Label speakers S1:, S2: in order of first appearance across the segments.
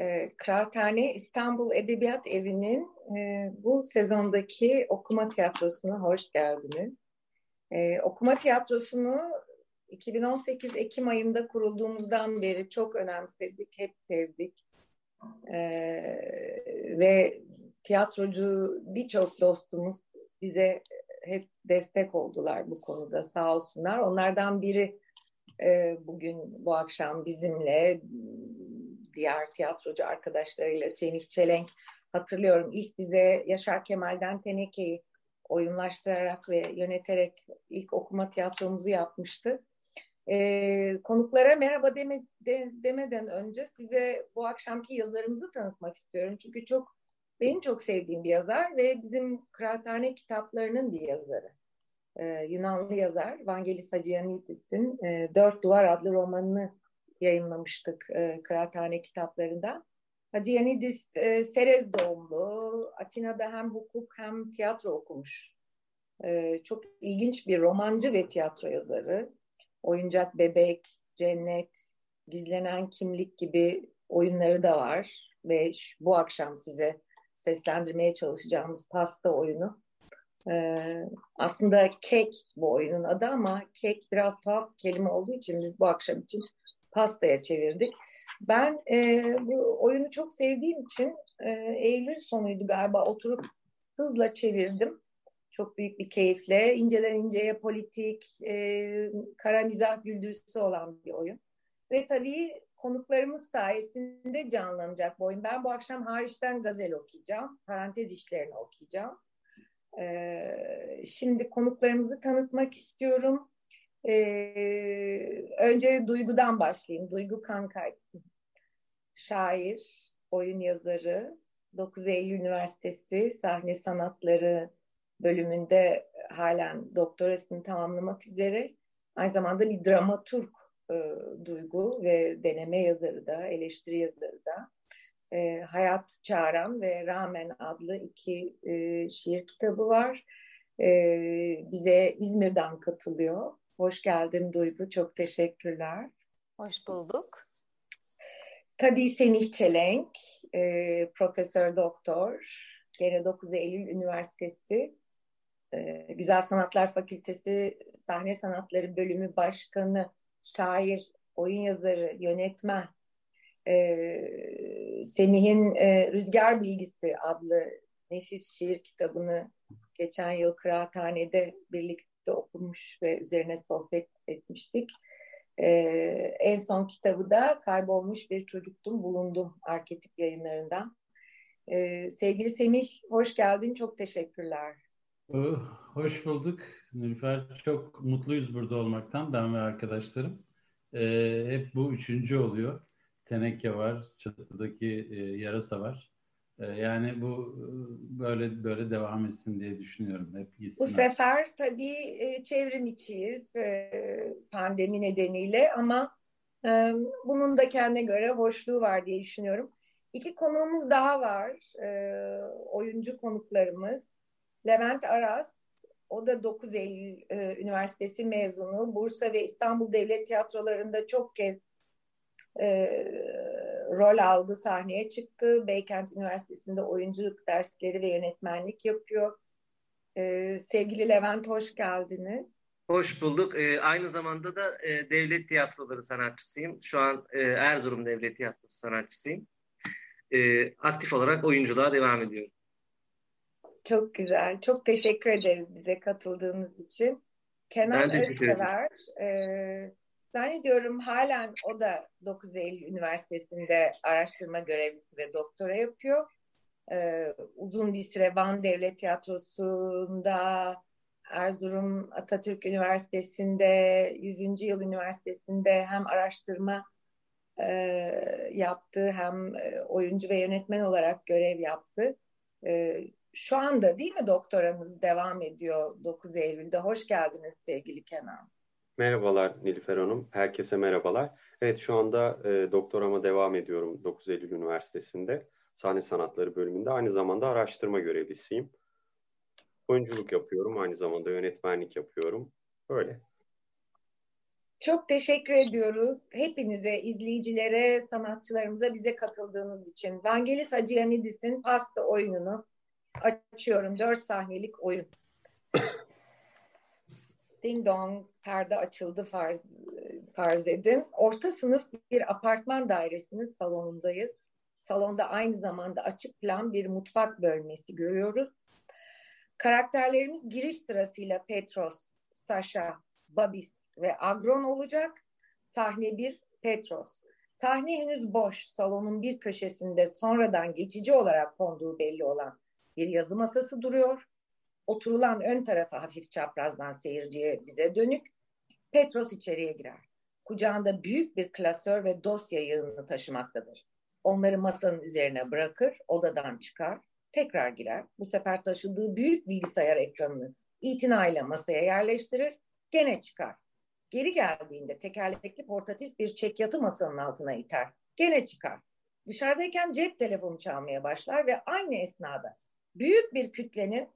S1: E, Kıraathane İstanbul Edebiyat Evi'nin e, bu sezondaki okuma tiyatrosuna hoş geldiniz. E, okuma tiyatrosunu 2018 Ekim ayında kurulduğumuzdan beri çok önemsedik, hep sevdik. Ee, Ve tiyatrocu birçok dostumuz bize hep destek oldular bu konuda sağ olsunlar. Onlardan biri Ee, bugün bu akşam bizimle ıı, diğer tiyatrocu arkadaşlarıyla Semih Çelenk hatırlıyorum ilk bize Yaşar Kemal'den Teneke'yi oyunlaştırarak ve yöneterek ilk okuma tiyatromuzu yapmıştı. Ee, konuklara merhaba deme, de, demeden önce size bu akşamki yazarımızı tanıtmak istiyorum. Çünkü çok benim çok sevdiğim bir yazar ve bizim kıraathane kitaplarının bir yazarı. Ee, Yunanlı yazar Vangelis Hacıyanidis'in e, Dört Duvar adlı romanını yayınlamıştık e, Kıraathane kitaplarında. Hacı Yanidis e, Serez doğumlu. Atina'da hem hukuk hem tiyatro okumuş. E, çok ilginç bir romancı ve tiyatro yazarı. Oyuncak Bebek, Cennet, Gizlenen Kimlik gibi oyunları da var. Ve şu, bu akşam size seslendirmeye çalışacağımız pasta oyunu. Ee, aslında kek bu oyunun adı ama kek biraz tuhaf bir kelime olduğu için biz bu akşam için pastaya çevirdik. Ben e, bu oyunu çok sevdiğim için e, Eylül sonuydu galiba oturup hızla çevirdim. Çok büyük bir keyifle. İnceden inceye politik, e, kara mizah güldürüsü olan bir oyun. Ve tabii konuklarımız sayesinde canlanacak bu oyun. Ben bu akşam hariçten gazel okuyacağım. Parantez işlerini okuyacağım. E, şimdi konuklarımızı tanıtmak istiyorum. Ee, önce Duygu'dan başlayayım. Duygu Kankaytsın. Şair, oyun yazarı, 9 Eylül Üniversitesi Sahne Sanatları bölümünde halen doktorasını tamamlamak üzere. Aynı zamanda bir dramaturg e, Duygu ve deneme yazarı da, eleştiri yazarı da. E, Hayat Çağıran ve Ramen adlı iki e, şiir kitabı var. E, bize İzmir'den katılıyor. Hoş geldin Duygu. Çok teşekkürler.
S2: Hoş bulduk.
S1: Tabii Semih Çelenk, e, profesör doktor, gene 9 Eylül Üniversitesi e, Güzel Sanatlar Fakültesi Sahne Sanatları Bölümü Başkanı, şair, oyun yazarı, yönetmen. E, Semih'in e, Rüzgar Bilgisi adlı nefis şiir kitabını geçen yıl kıraathanede birlikte birlikte okumuş ve üzerine sohbet etmiştik. Ee, en son kitabı da Kaybolmuş Bir Çocuktum Bulundum Arketip yayınlarından. Ee, sevgili Semih, hoş geldin. Çok teşekkürler.
S3: Oh, Hoş bulduk Nilüfer. Çok mutluyuz burada olmaktan ben ve arkadaşlarım. Ee, hep bu üçüncü oluyor. Teneke var, çatıdaki e, yarasa var. Ee, Yani bu e, böyle böyle devam etsin diye düşünüyorum. Hep
S1: Bu
S3: gitsin.
S1: sefer tabii e, çevrim içiyiz e, pandemi nedeniyle ama e, bunun da kendine göre hoşluğu var diye düşünüyorum. İki konuğumuz daha var. e, Oyuncu konuklarımız. Levent Aras, o da 9 Eylül e, Üniversitesi mezunu. Bursa ve İstanbul Devlet Tiyatroları'nda çok kez e, rol aldı, sahneye çıktı. Beykent Üniversitesi'nde oyunculuk dersleri ve yönetmenlik yapıyor. Ee, sevgili Levent hoş geldiniz.
S4: Hoş bulduk. Ee, aynı zamanda da e, devlet tiyatroları sanatçısıyım. Şu an e, Erzurum Devlet Tiyatrosu sanatçısıyım. E, aktif olarak oyunculuğa devam ediyorum.
S1: Çok güzel. Çok teşekkür ederiz bize katıldığınız için. Kenan Özsever, e, Zannediyorum halen o da 9 Eylül Üniversitesi'nde araştırma görevlisi ve doktora yapıyor. Ee, uzun bir süre Van Devlet Tiyatrosu'nda, Erzurum Atatürk Üniversitesi'nde, 100. Yıl Üniversitesi'nde hem araştırma e, yaptı hem oyuncu ve yönetmen olarak görev yaptı. E, şu anda değil mi doktoranız devam ediyor 9 Eylül'de. Hoş geldiniz sevgili Kenan.
S2: Merhabalar Nilüfer Hanım. Herkese merhabalar. Evet şu anda e, doktorama devam ediyorum 9 Eylül Üniversitesi'nde. Sahne Sanatları bölümünde aynı zamanda araştırma görevlisiyim. Oyunculuk yapıyorum, aynı zamanda yönetmenlik yapıyorum. Böyle.
S1: Çok teşekkür ediyoruz hepinize, izleyicilere, sanatçılarımıza bize katıldığınız için. Vangelis Hacıyanidis'in pasta oyununu açıyorum. Dört sahnelik oyun. Ding dong perde açıldı farz, farz edin. Orta sınıf bir apartman dairesinin salonundayız. Salonda aynı zamanda açık plan bir mutfak bölmesi görüyoruz. Karakterlerimiz giriş sırasıyla Petros, Sasha, Babis ve Agron olacak. Sahne bir Petros. Sahne henüz boş. Salonun bir köşesinde sonradan geçici olarak konduğu belli olan bir yazı masası duruyor. Oturulan ön tarafı hafif çaprazdan seyirciye bize dönük. Petros içeriye girer. Kucağında büyük bir klasör ve dosya yığını taşımaktadır. Onları masanın üzerine bırakır, odadan çıkar, tekrar girer. Bu sefer taşıdığı büyük bilgisayar ekranını itinayla masaya yerleştirir, gene çıkar. Geri geldiğinde tekerlekli portatif bir çekyatı masanın altına iter. Gene çıkar. Dışarıdayken cep telefonu çalmaya başlar ve aynı esnada büyük bir kütlenin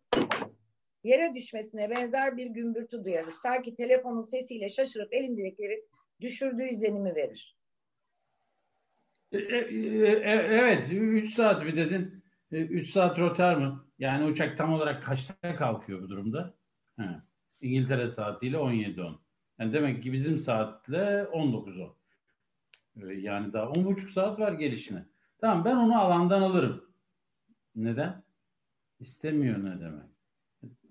S1: yere düşmesine benzer bir gümbürtü duyarız. Sanki telefonun sesiyle şaşırıp elindekileri düşürdüğü izlenimi verir.
S3: E, e, e, Evet, 3 saat mi dedin? 3 saat rotar mı? Yani uçak tam olarak kaçta kalkıyor bu durumda? He. İngiltere saatiyle 17.10. Yani demek ki bizim saatle 19.10. Ee, Yani daha 10.5 saat var gelişine. Tamam ben onu alandan alırım. Neden? İstemiyor ne demek?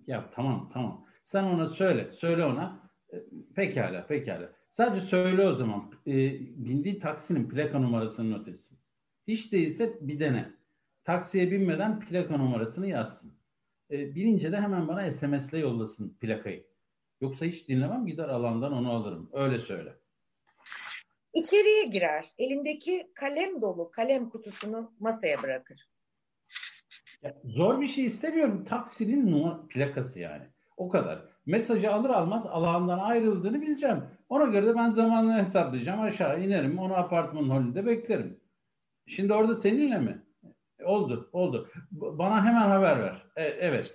S3: Ya tamam tamam. Sen ona söyle. Söyle ona. E, Pekala pekala. Sadece söyle o zaman. E, bindiği taksinin plaka numarasını not etsin. Hiç değilse bir dene. Taksiye binmeden plaka numarasını yazsın. E, bilince de hemen bana SMS'le yollasın plakayı. Yoksa hiç dinlemem gider alandan onu alırım. Öyle söyle.
S1: İçeriye girer. Elindeki kalem dolu kalem kutusunu masaya bırakır.
S3: Ya, zor bir şey istemiyorum. Taksinin numara, plakası yani. O kadar. Mesajı alır almaz alandan ayrıldığını bileceğim. Ona göre de ben zamanını hesaplayacağım. Aşağı inerim. Onu apartmanın holünde beklerim. Şimdi orada seninle mi? E, Oldu, oldu. B- Bana hemen haber ver. E, evet.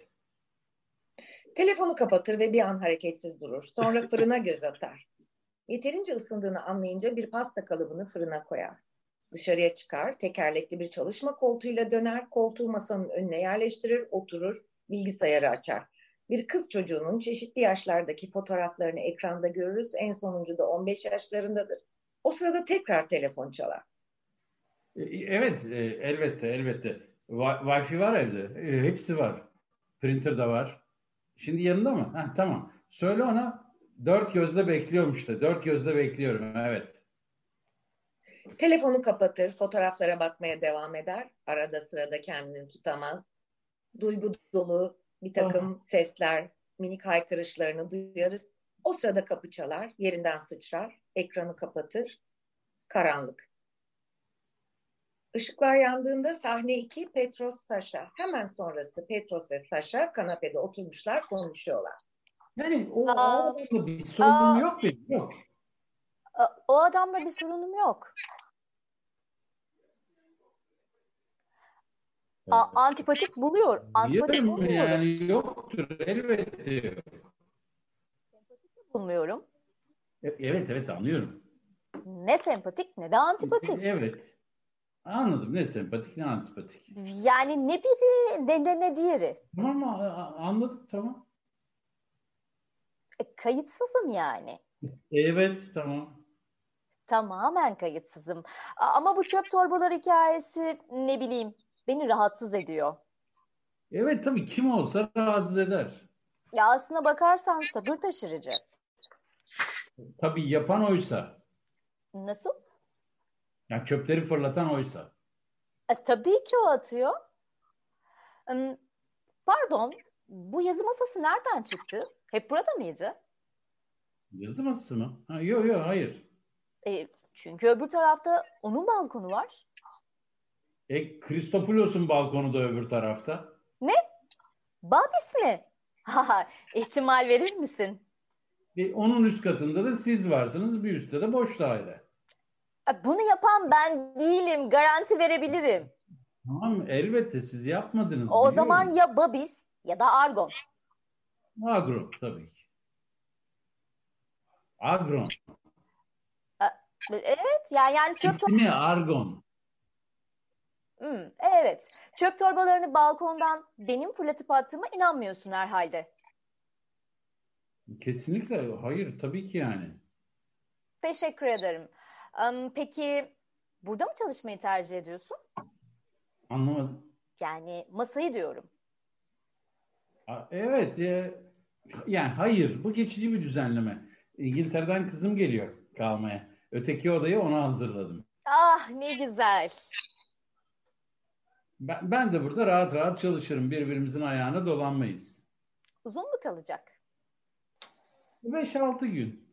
S1: Telefonu kapatır ve bir an hareketsiz durur. Sonra fırına göz atar. Yeterince ısındığını anlayınca bir pasta kalıbını fırına koyar. Dışarıya çıkar, tekerlekli bir çalışma koltuğuyla döner, koltuğu masanın önüne yerleştirir, oturur, bilgisayarı açar. Bir kız çocuğunun çeşitli yaşlardaki fotoğraflarını ekranda görürüz. En sonuncu da 15 yaşlarındadır. O sırada tekrar telefon çalar.
S3: E, Evet, e, elbette, elbette. Wi- Wi-Fi var evde. E, Hepsi var. Printer da var. Şimdi yanında mı? Heh, tamam. Söyle ona dört gözle bekliyorum işte. Dört gözle bekliyorum. Evet.
S1: Telefonu kapatır, fotoğraflara bakmaya devam eder. Arada sırada kendini tutamaz. Duygu dolu bir takım sesler, minik haykırışlarını duyarız. O sırada kapı çalar, yerinden sıçrar, ekranı kapatır. Karanlık. Işıklar yandığında sahne 2 Petros Saşa. Hemen sonrası Petros ve Saşa kanapede oturmuşlar, konuşuyorlar.
S3: Yani o, o
S5: Aa.
S3: adamla bir sorunum
S5: Aa.
S3: yok benim. Yok.
S5: A- O adamla bir sorunum yok. A- antipatik buluyor. Antipatik
S3: Diyorum
S5: bulmuyorum.
S3: yani yoktur. Elbette yok.
S5: Bulmuyorum.
S3: E- Evet, evet anlıyorum. E,
S5: Ne sempatik ne de antipatik.
S3: Evet. Anladım. Ne sempatik ne antipatik.
S5: Yani ne biri ne de ne diğeri.
S3: Tamam a- a- anladık tamam.
S5: E, kayıtsızım yani.
S3: Evet tamam.
S5: Tamamen kayıtsızım. A- ama bu çöp torbaları hikayesi ne bileyim beni rahatsız ediyor.
S3: Evet tabii kim olsa rahatsız eder.
S5: Ya aslına bakarsan sabır taşırıcı.
S3: Tabii yapan oysa.
S5: Nasıl?
S3: Yani çöpleri fırlatan oysa.
S5: E, tabii ki o atıyor. Im, Pardon, bu yazı masası nereden çıktı? Hep burada mıydı?
S3: Yazılması mı? Ha, yok yok hayır.
S5: E, çünkü öbür tarafta onun balkonu var.
S3: E, Kristopoulos'un balkonu da öbür tarafta.
S5: Ne? Babis mi? Haha, İhtimal verir misin?
S3: E, onun üst katında da siz varsınız, bir üstte de boş daire.
S5: E, Bunu yapan ben değilim. Garanti verebilirim.
S3: Tamam mı? Elbette siz yapmadınız.
S5: O
S3: biliyorum.
S5: zaman ya Babis ya da Argon.
S3: Agro tabii ki. Agron.
S5: E, Evet yani, yani çöp
S3: İsmi Argon.
S5: Hmm, evet. Çöp torbalarını balkondan benim fırlatıp attığıma inanmıyorsun herhalde.
S3: Kesinlikle hayır tabii ki yani.
S5: Teşekkür ederim. Am, peki burada mı çalışmayı tercih ediyorsun?
S3: Anlamadım.
S5: Yani masayı diyorum.
S3: A- Evet, e, yani hayır, bu geçici bir düzenleme. İngiltere'den kızım geliyor kalmaya. Öteki odayı ona hazırladım.
S5: Ah ne güzel.
S3: Ben, ben de burada rahat rahat çalışırım. Birbirimizin ayağına dolanmayız.
S5: Uzun mu kalacak?
S3: 5-6 gün.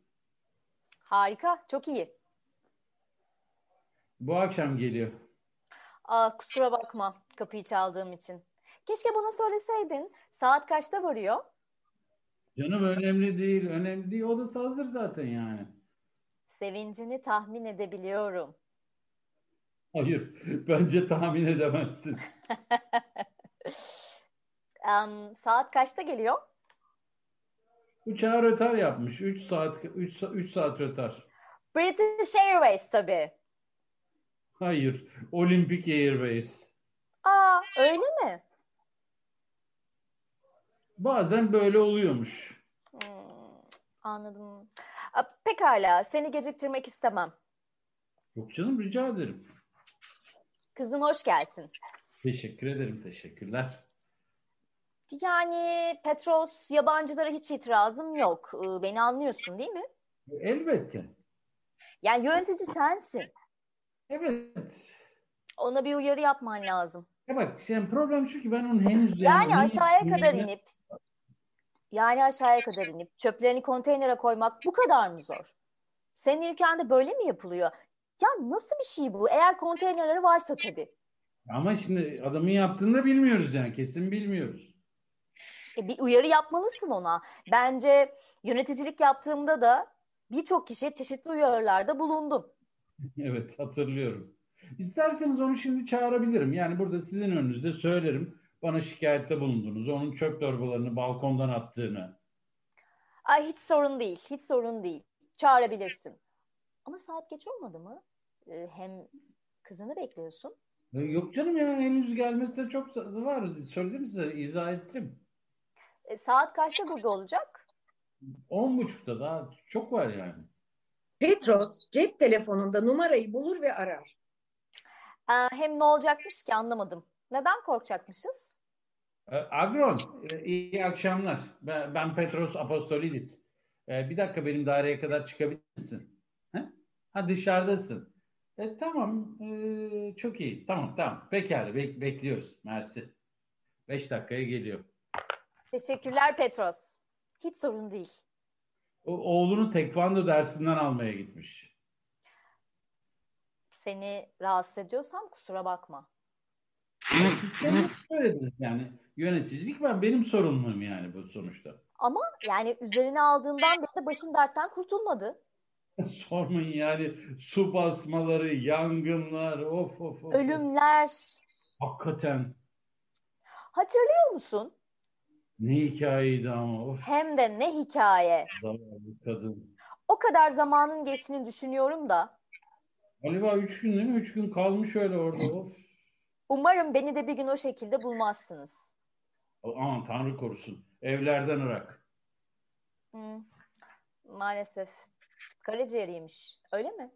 S5: Harika, çok iyi.
S3: Bu akşam geliyor.
S5: Ah kusura bakma kapıyı çaldığım için. Keşke bana söyleseydin. Saat kaçta varıyor?
S3: Canım önemli değil, önemli değil. Odası hazır zaten yani.
S5: Sevincini tahmin edebiliyorum.
S3: Hayır, bence tahmin edemezsin.
S5: Am, saat kaçta geliyor?
S3: Uçağı rötar yapmış. 3 saat 3, 3 saat rötar.
S5: British Airways tabii.
S3: Hayır, Olympic Airways.
S5: Aa öyle mi?
S3: Bazen böyle oluyormuş.
S5: Hmm, anladım. Aa, Pekala, seni geciktirmek istemem.
S3: Yok canım rica ederim.
S5: Kızım hoş gelsin.
S3: Teşekkür ederim, teşekkürler.
S5: Yani Petros, yabancılara hiç itirazım yok. Ee, Beni anlıyorsun değil mi?
S3: Elbette.
S5: Yani yönetici sensin.
S3: Evet.
S5: Ona bir uyarı yapman lazım.
S3: Ya bak şimdi problem şu ki ben onu henüz...
S5: Yani
S3: onu-
S5: aşağıya kadar inip, yani aşağıya kadar inip çöplerini konteynere koymak bu kadar mı zor? Senin ülkende böyle mi yapılıyor? Ya nasıl bir şey bu? Eğer konteynerleri varsa tabii.
S3: Ama şimdi adamın yaptığını da bilmiyoruz yani. Kesin bilmiyoruz.
S5: E, bir uyarı yapmalısın ona. Bence yöneticilik yaptığımda da birçok kişiye çeşitli uyarılarda bulundum.
S3: Evet hatırlıyorum. İsterseniz onu şimdi çağırabilirim. Yani burada sizin önünüzde söylerim. Bana şikayette bulundunuz. Onun çöp torbalarını balkondan attığını.
S5: Ay hiç sorun değil, hiç sorun değil. Çağırabilirsin. Ama saat geç olmadı mı? E, hem kızını bekliyorsun.
S3: E, Yok canım ya henüz gelmesine çok sa- varız. Söyledim size izah ettim.
S5: E, saat kaçta burada olacak?
S3: On buçukta daha çok var yani.
S1: Petros cep telefonunda numarayı bulur ve arar.
S5: E, hem ne olacakmış ki anlamadım. Neden korkacakmışız?
S3: E, Agron e, iyi akşamlar. Ben, ben Petros Apostolidis. E, Bir dakika benim daireye kadar çıkabilir misin? He? Ha dışarıdasın. E, tamam e, çok iyi tamam tamam pekala bek- bekliyoruz Mersi. Beş dakikaya geliyor.
S5: Teşekkürler Petros. Hiç sorun değil.
S3: O, oğlunu tekvando dersinden almaya gitmiş.
S5: Seni rahatsız ediyorsam kusura bakma.
S3: Siz kendiniz söylediniz yani yöneticilik ben benim sorumluluğum yani bu sonuçta.
S5: Ama yani üzerine aldığından beri de başın dertten kurtulmadı.
S3: Sormayın yani su basmaları, yangınlar of of of.
S5: Ölümler.
S3: Hakikaten
S5: Hatırlıyor musun?
S3: Ne hikayeydi ama of
S5: Hem de ne hikaye.
S3: zavallı kadın.
S5: O kadar zamanın geçtiğini düşünüyorum da.
S3: Galiba üç gün değil mi? Üç gün kalmış öyle orada of.
S5: Umarım beni de bir gün o şekilde bulmazsınız.
S3: Aman Tanrı korusun. Evlerden ırak.
S5: Hı. Hmm. Maalesef. Karaciğeriymiş. Öyle mi?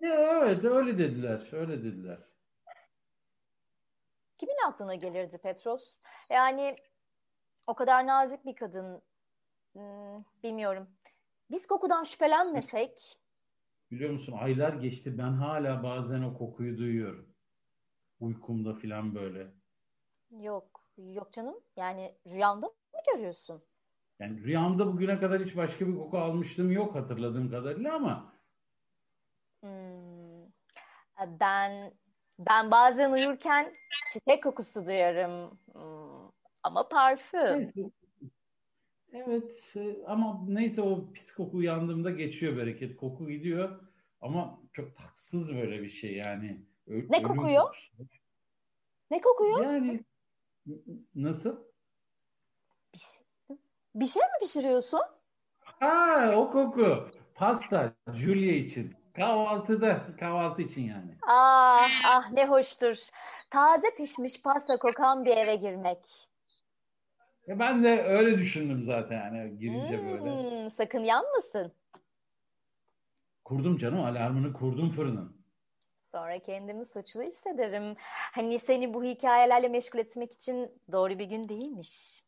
S3: Ya evet öyle dediler. Öyle dediler.
S5: Kimin aklına gelirdi Petros? Yani o kadar nazik bir kadın. Hmm, bilmiyorum. Biz kokudan şüphelenmesek
S3: Biliyor musun aylar geçti ben hala bazen o kokuyu duyuyorum. Uykumda falan böyle.
S5: yok. Yok canım. Yani rüyanda mı görüyorsun?
S3: Yani rüyamda bugüne kadar hiç başka bir koku almıştım yok hatırladığım kadarıyla ama
S5: Hmm. Ben ben bazen uyurken çiçek kokusu duyarım. Hmm. Ama parfüm.
S3: Neyse. Evet e, ama neyse o pis koku uyandığımda geçiyor bereket. Koku gidiyor ama çok tatsız böyle bir şey yani. Ö-
S5: Ne
S3: ölüm
S5: kokuyor?
S3: kokusu.
S5: Ne kokuyor?
S3: Yani n- nasıl?
S5: Bir şey, bir şey mi pişiriyorsun?
S3: Ha o koku. Pasta Julia için. Kahvaltıda. Kahvaltı için yani.
S5: Ah ah ne hoştur. Taze pişmiş pasta kokan bir eve girmek.
S3: E ben de öyle düşündüm zaten yani girince böyle.
S5: Hmm, sakın yanmasın.
S3: Kurdum canım alarmını kurdum fırının.
S5: Sonra kendimi suçlu hissederim. Hani seni bu hikayelerle meşgul etmek için doğru bir gün değilmiş.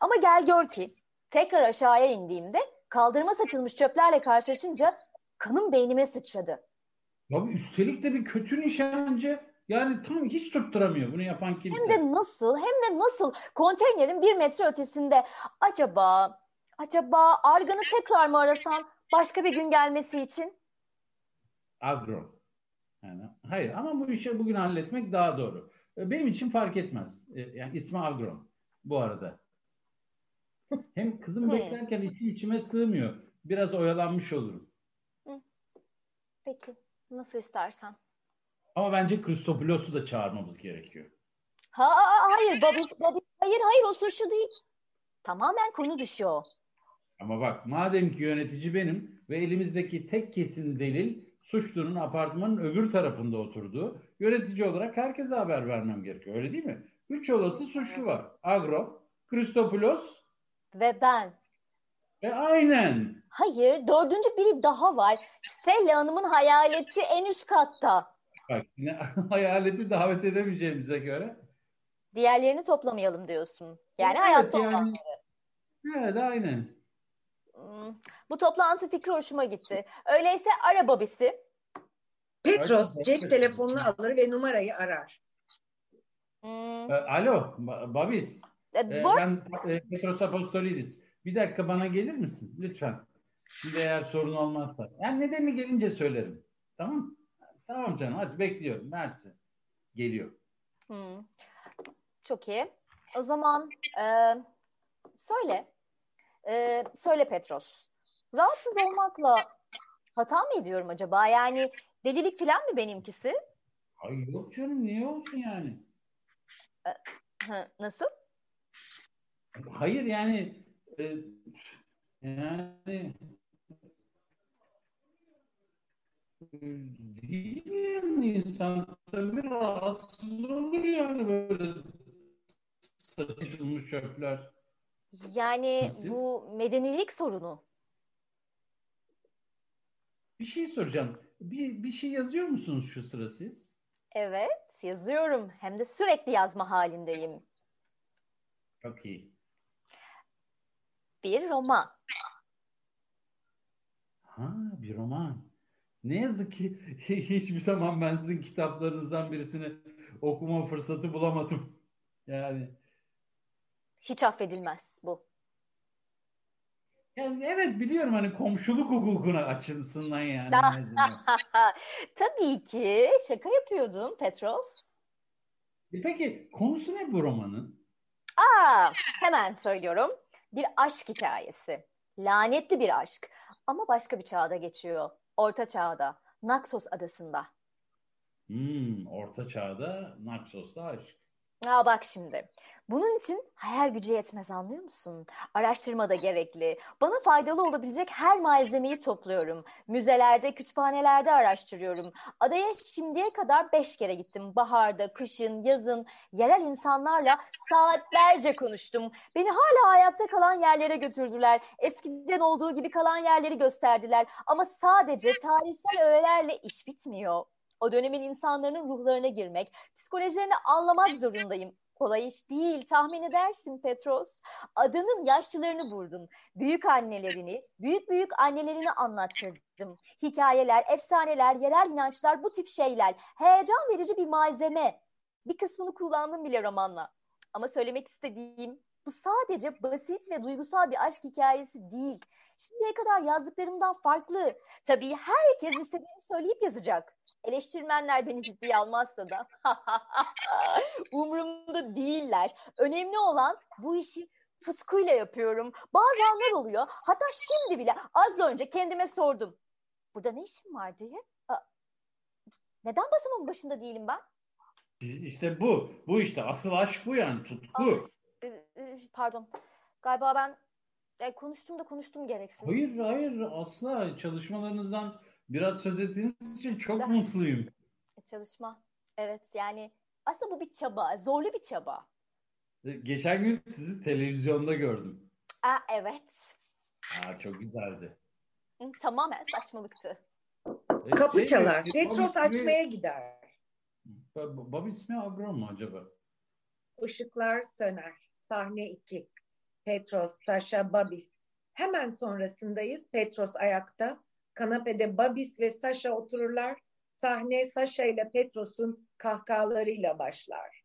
S5: Ama gel gör ki tekrar aşağıya indiğimde kaldırıma saçılmış çöplerle karşılaşınca kanım beynime sıçradı.
S3: Ya bu üstelik de bir kötü nişancı. Yani tam hiç tutturamıyor bunu yapan kimse.
S5: Hem de nasıl, hem de nasıl konteynerin bir metre ötesinde. Acaba, acaba Argan'ı tekrar mı arasam başka bir gün gelmesi için?
S3: Agro. Yani hayır ama bu işi bugün halletmek daha doğru. E, Benim için fark etmez. E, Yani ismi Agro bu arada. Hem kızım
S5: Hmm.
S3: beklerken içim içime sığmıyor. Biraz oyalanmış olurum.
S5: Peki, nasıl istersen.
S3: Ama bence Kristopoulos'u da çağırmamız gerekiyor.
S5: Ha, ha, hayır babis, babis, hayır hayır o suçlu değil. Tamamen konu dışı o.
S3: Ama bak madem ki yönetici benim ve elimizdeki tek kesin delil suçlunun apartmanın öbür tarafında oturduğu yönetici olarak herkese haber vermem gerekiyor. Öyle değil mi? Üç olası suçlu var. Agro, Kristopoulos
S5: Ve ben.
S3: ve aynen.
S5: Hayır, dördüncü biri daha var. Stella Hanım'ın hayaleti en üst katta.
S3: Bak yine hayaleti davet edemeyeceğimize göre.
S5: Diğerlerini toplamayalım diyorsun. Yani
S3: Evet,
S5: hayatta olan.
S3: yani- Evet aynen.
S5: Hmm, Bu toplantı fikri hoşuma gitti. Öyleyse ara babisi.
S1: Petros
S3: Ay,
S1: cep
S3: evet.
S1: telefonunu alır ve numarayı arar.
S5: Hmm,
S3: E, Alo ba- Babis.
S5: e,
S3: E,
S5: bu-
S3: ben e, Petros Apostolidis. Bir dakika bana gelir misin? Lütfen. Şimdi eğer sorun olmazsa. Yani nedeni gelince söylerim. Tamam mı? Tamam canım hadi bekliyorum. Mersi. Geliyor.
S5: Hmm, Çok iyi. O zaman e, söyle. E, söyle Petros. Rahatsız olmakla hata mı ediyorum acaba? Yani delilik falan mı benimkisi?
S3: Ay yok canım niye olsun yani?
S5: Hı, Nasıl?
S3: Hayır yani e, yani e, değil yani insan tabii rahatsız olur yani böyle saçılmış çöpler.
S5: Yani
S3: Siz?
S5: bu medenilik sorunu.
S3: Bir şey soracağım. Bir, bir şey yazıyor musunuz şu sıra siz?
S5: Evet, yazıyorum. Hem de sürekli yazma halindeyim.
S3: Çok iyi.
S5: Bir roman.
S3: Ha bir roman. Ne yazık ki hiçbir zaman ben sizin kitaplarınızdan birisini okuma fırsatı bulamadım. Yani
S5: Hiç affedilmez bu.
S3: Yani evet biliyorum hani komşuluk hukukuna açılsından yani en
S5: Da-
S1: Ah,
S3: azından.
S5: Tabii ki şaka yapıyordum Petros.
S3: E Peki konusu ne bu romanın?
S5: Aa, hemen söylüyorum. Bir aşk hikayesi. Lanetli bir aşk. Ama başka bir çağda geçiyor. Orta çağda. Naxos adasında.
S3: Hmm, Orta Çağ'da Naxos'ta aşk.
S5: Aa bak şimdi. Bunun için hayal gücü yetmez anlıyor musun? Araştırma da gerekli. Bana faydalı olabilecek her malzemeyi topluyorum. Müzelerde, kütüphanelerde araştırıyorum. Adaya şimdiye kadar beş kere gittim. Baharda, kışın, yazın yerel insanlarla saatlerce konuştum. Beni hala hayatta kalan yerlere götürdüler. Eskiden olduğu gibi kalan yerleri gösterdiler. Ama sadece tarihsel öğelerle iş bitmiyor. O dönemin insanların ruhlarına girmek, Psikolojilerini anlamak zorundayım. Kolay iş değil. Tahmin edersin Petros. Adanın yaşlılarını buldum. Büyük annelerini, büyük büyük annelerini anlattırdım. Hikayeler, efsaneler, yerel inançlar bu tip şeyler. Heyecan verici bir malzeme. Bir kısmını kullandım bile romanla. Ama söylemek istediğim bu sadece basit ve duygusal bir aşk hikayesi değil. Şimdiye kadar yazdıklarımdan farklı. Tabii herkes istediğini söyleyip yazacak. Eleştirmenler beni ciddiye almazsa da umurumda zorunda değiller. Önemli olan bu işi tutkuyla yapıyorum. Bazı anlar oluyor. Hatta şimdi bile az önce kendime sordum. Burada ne işim var diye. Aa, Neden basımın başında değilim ben?
S3: İşte bu. Bu işte asıl aşk bu yani
S1: Ah,
S3: tutku.
S5: Ee, e, Pardon. Galiba ben e, konuştum da konuştum gereksiz.
S3: Hayır hayır asla çalışmalarınızdan biraz söz ettiğiniz için çok
S1: Ah.
S5: Ben-
S3: mutluyum.
S5: E, Çalışma. Evet yani aslında bu bir çaba. Zorlu bir çaba.
S3: E, Geçen gün sizi televizyonda gördüm.
S5: Aa, evet.
S3: Aa, çok güzeldi.
S5: Hı, Tamamen saçmalıktı.
S1: Kapı
S3: Şey,
S1: çalar.
S3: Bob
S1: Petros
S3: ismi-
S1: açmaya gider.
S3: Bob Bob ismi Agron mu acaba?
S1: Işıklar söner. Sahne 2. Petros, Sasha, Babis. Hemen sonrasındayız. Petros ayakta. Kanapede Babis ve Sasha otururlar. Sahne Sasha ile Petros'un kahkahalarıyla başlar.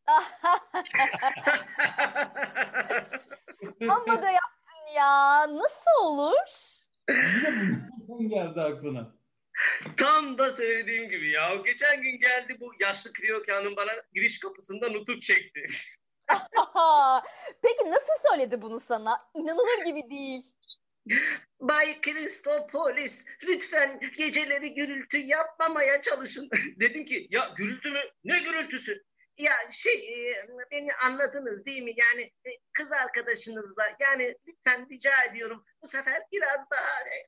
S5: Amma da yaptın ya. Nasıl olur?
S3: Yine bundan geldi aklına.
S4: Tam da söylediğim gibi ya. Geçen gün geldi bu yaşlı kriyokanın bana giriş kapısında nutuk çekti.
S5: Aha! Peki nasıl söyledi bunu sana? İnanılır gibi değil.
S4: Bay Kristopolis lütfen geceleri gürültü yapmamaya çalışın. Dedim ki ya gürültü mü? Ne gürültüsü? Ya şey e, beni anladınız değil mi? Yani e, kız arkadaşınızla yani lütfen rica ediyorum bu sefer biraz daha. e,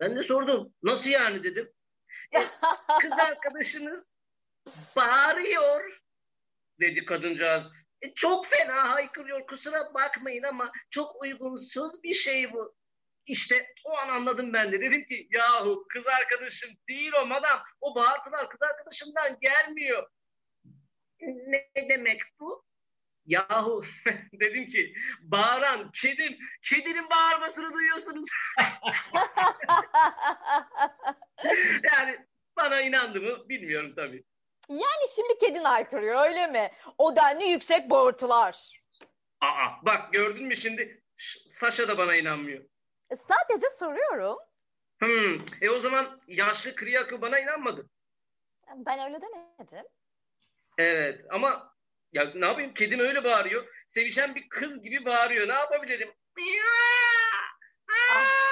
S4: Ben de sordum nasıl yani dedim. Kız arkadaşınız bağırıyor dedi kadıncağız. "E, Çok fena haykırıyor kusura bakmayın ama çok uygunsuz bir şey bu. İşte o an anladım ben de. Dedim ki yahu kız arkadaşım değil o madam. O bağırtılar kız arkadaşımdan gelmiyor. Ne demek bu? Yahu dedim ki bağıran kedim. Kedinin bağırmasını duyuyorsunuz. Yani bana inandı mı bilmiyorum tabii.
S5: yani şimdi kedin haykırıyor öyle mi? O denli yüksek bağırtılar.
S4: Aa bak gördün mü şimdi Ş- Saşa da bana inanmıyor.
S5: E, Sadece soruyorum.
S4: Hmm. E o zaman yaşlı Kriyakı bana inanmadı.
S5: Ben öyle demedim.
S4: Evet ama ya ne yapayım kedim öyle bağırıyor. Sevişen bir kız gibi bağırıyor. Ne yapabilirim?
S5: En,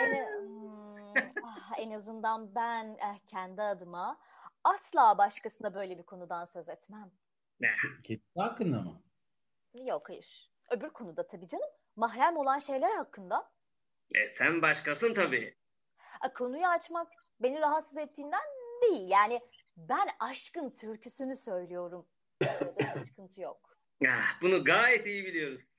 S5: Hmm, ah, en azından ben eh, kendi adıma asla başkasına böyle bir konudan söz etmem.
S3: Kendi hakkında mı?
S5: Yok hayır. Öbür konuda tabii canım. Mahrem olan şeyler hakkında.
S4: E sen başkasın tabii.
S5: A, konuyu açmak beni rahatsız ettiğinden değil. Yani ben aşkın türküsünü söylüyorum. Orada bir sıkıntı yok.
S4: Ah, bunu gayet iyi biliyoruz.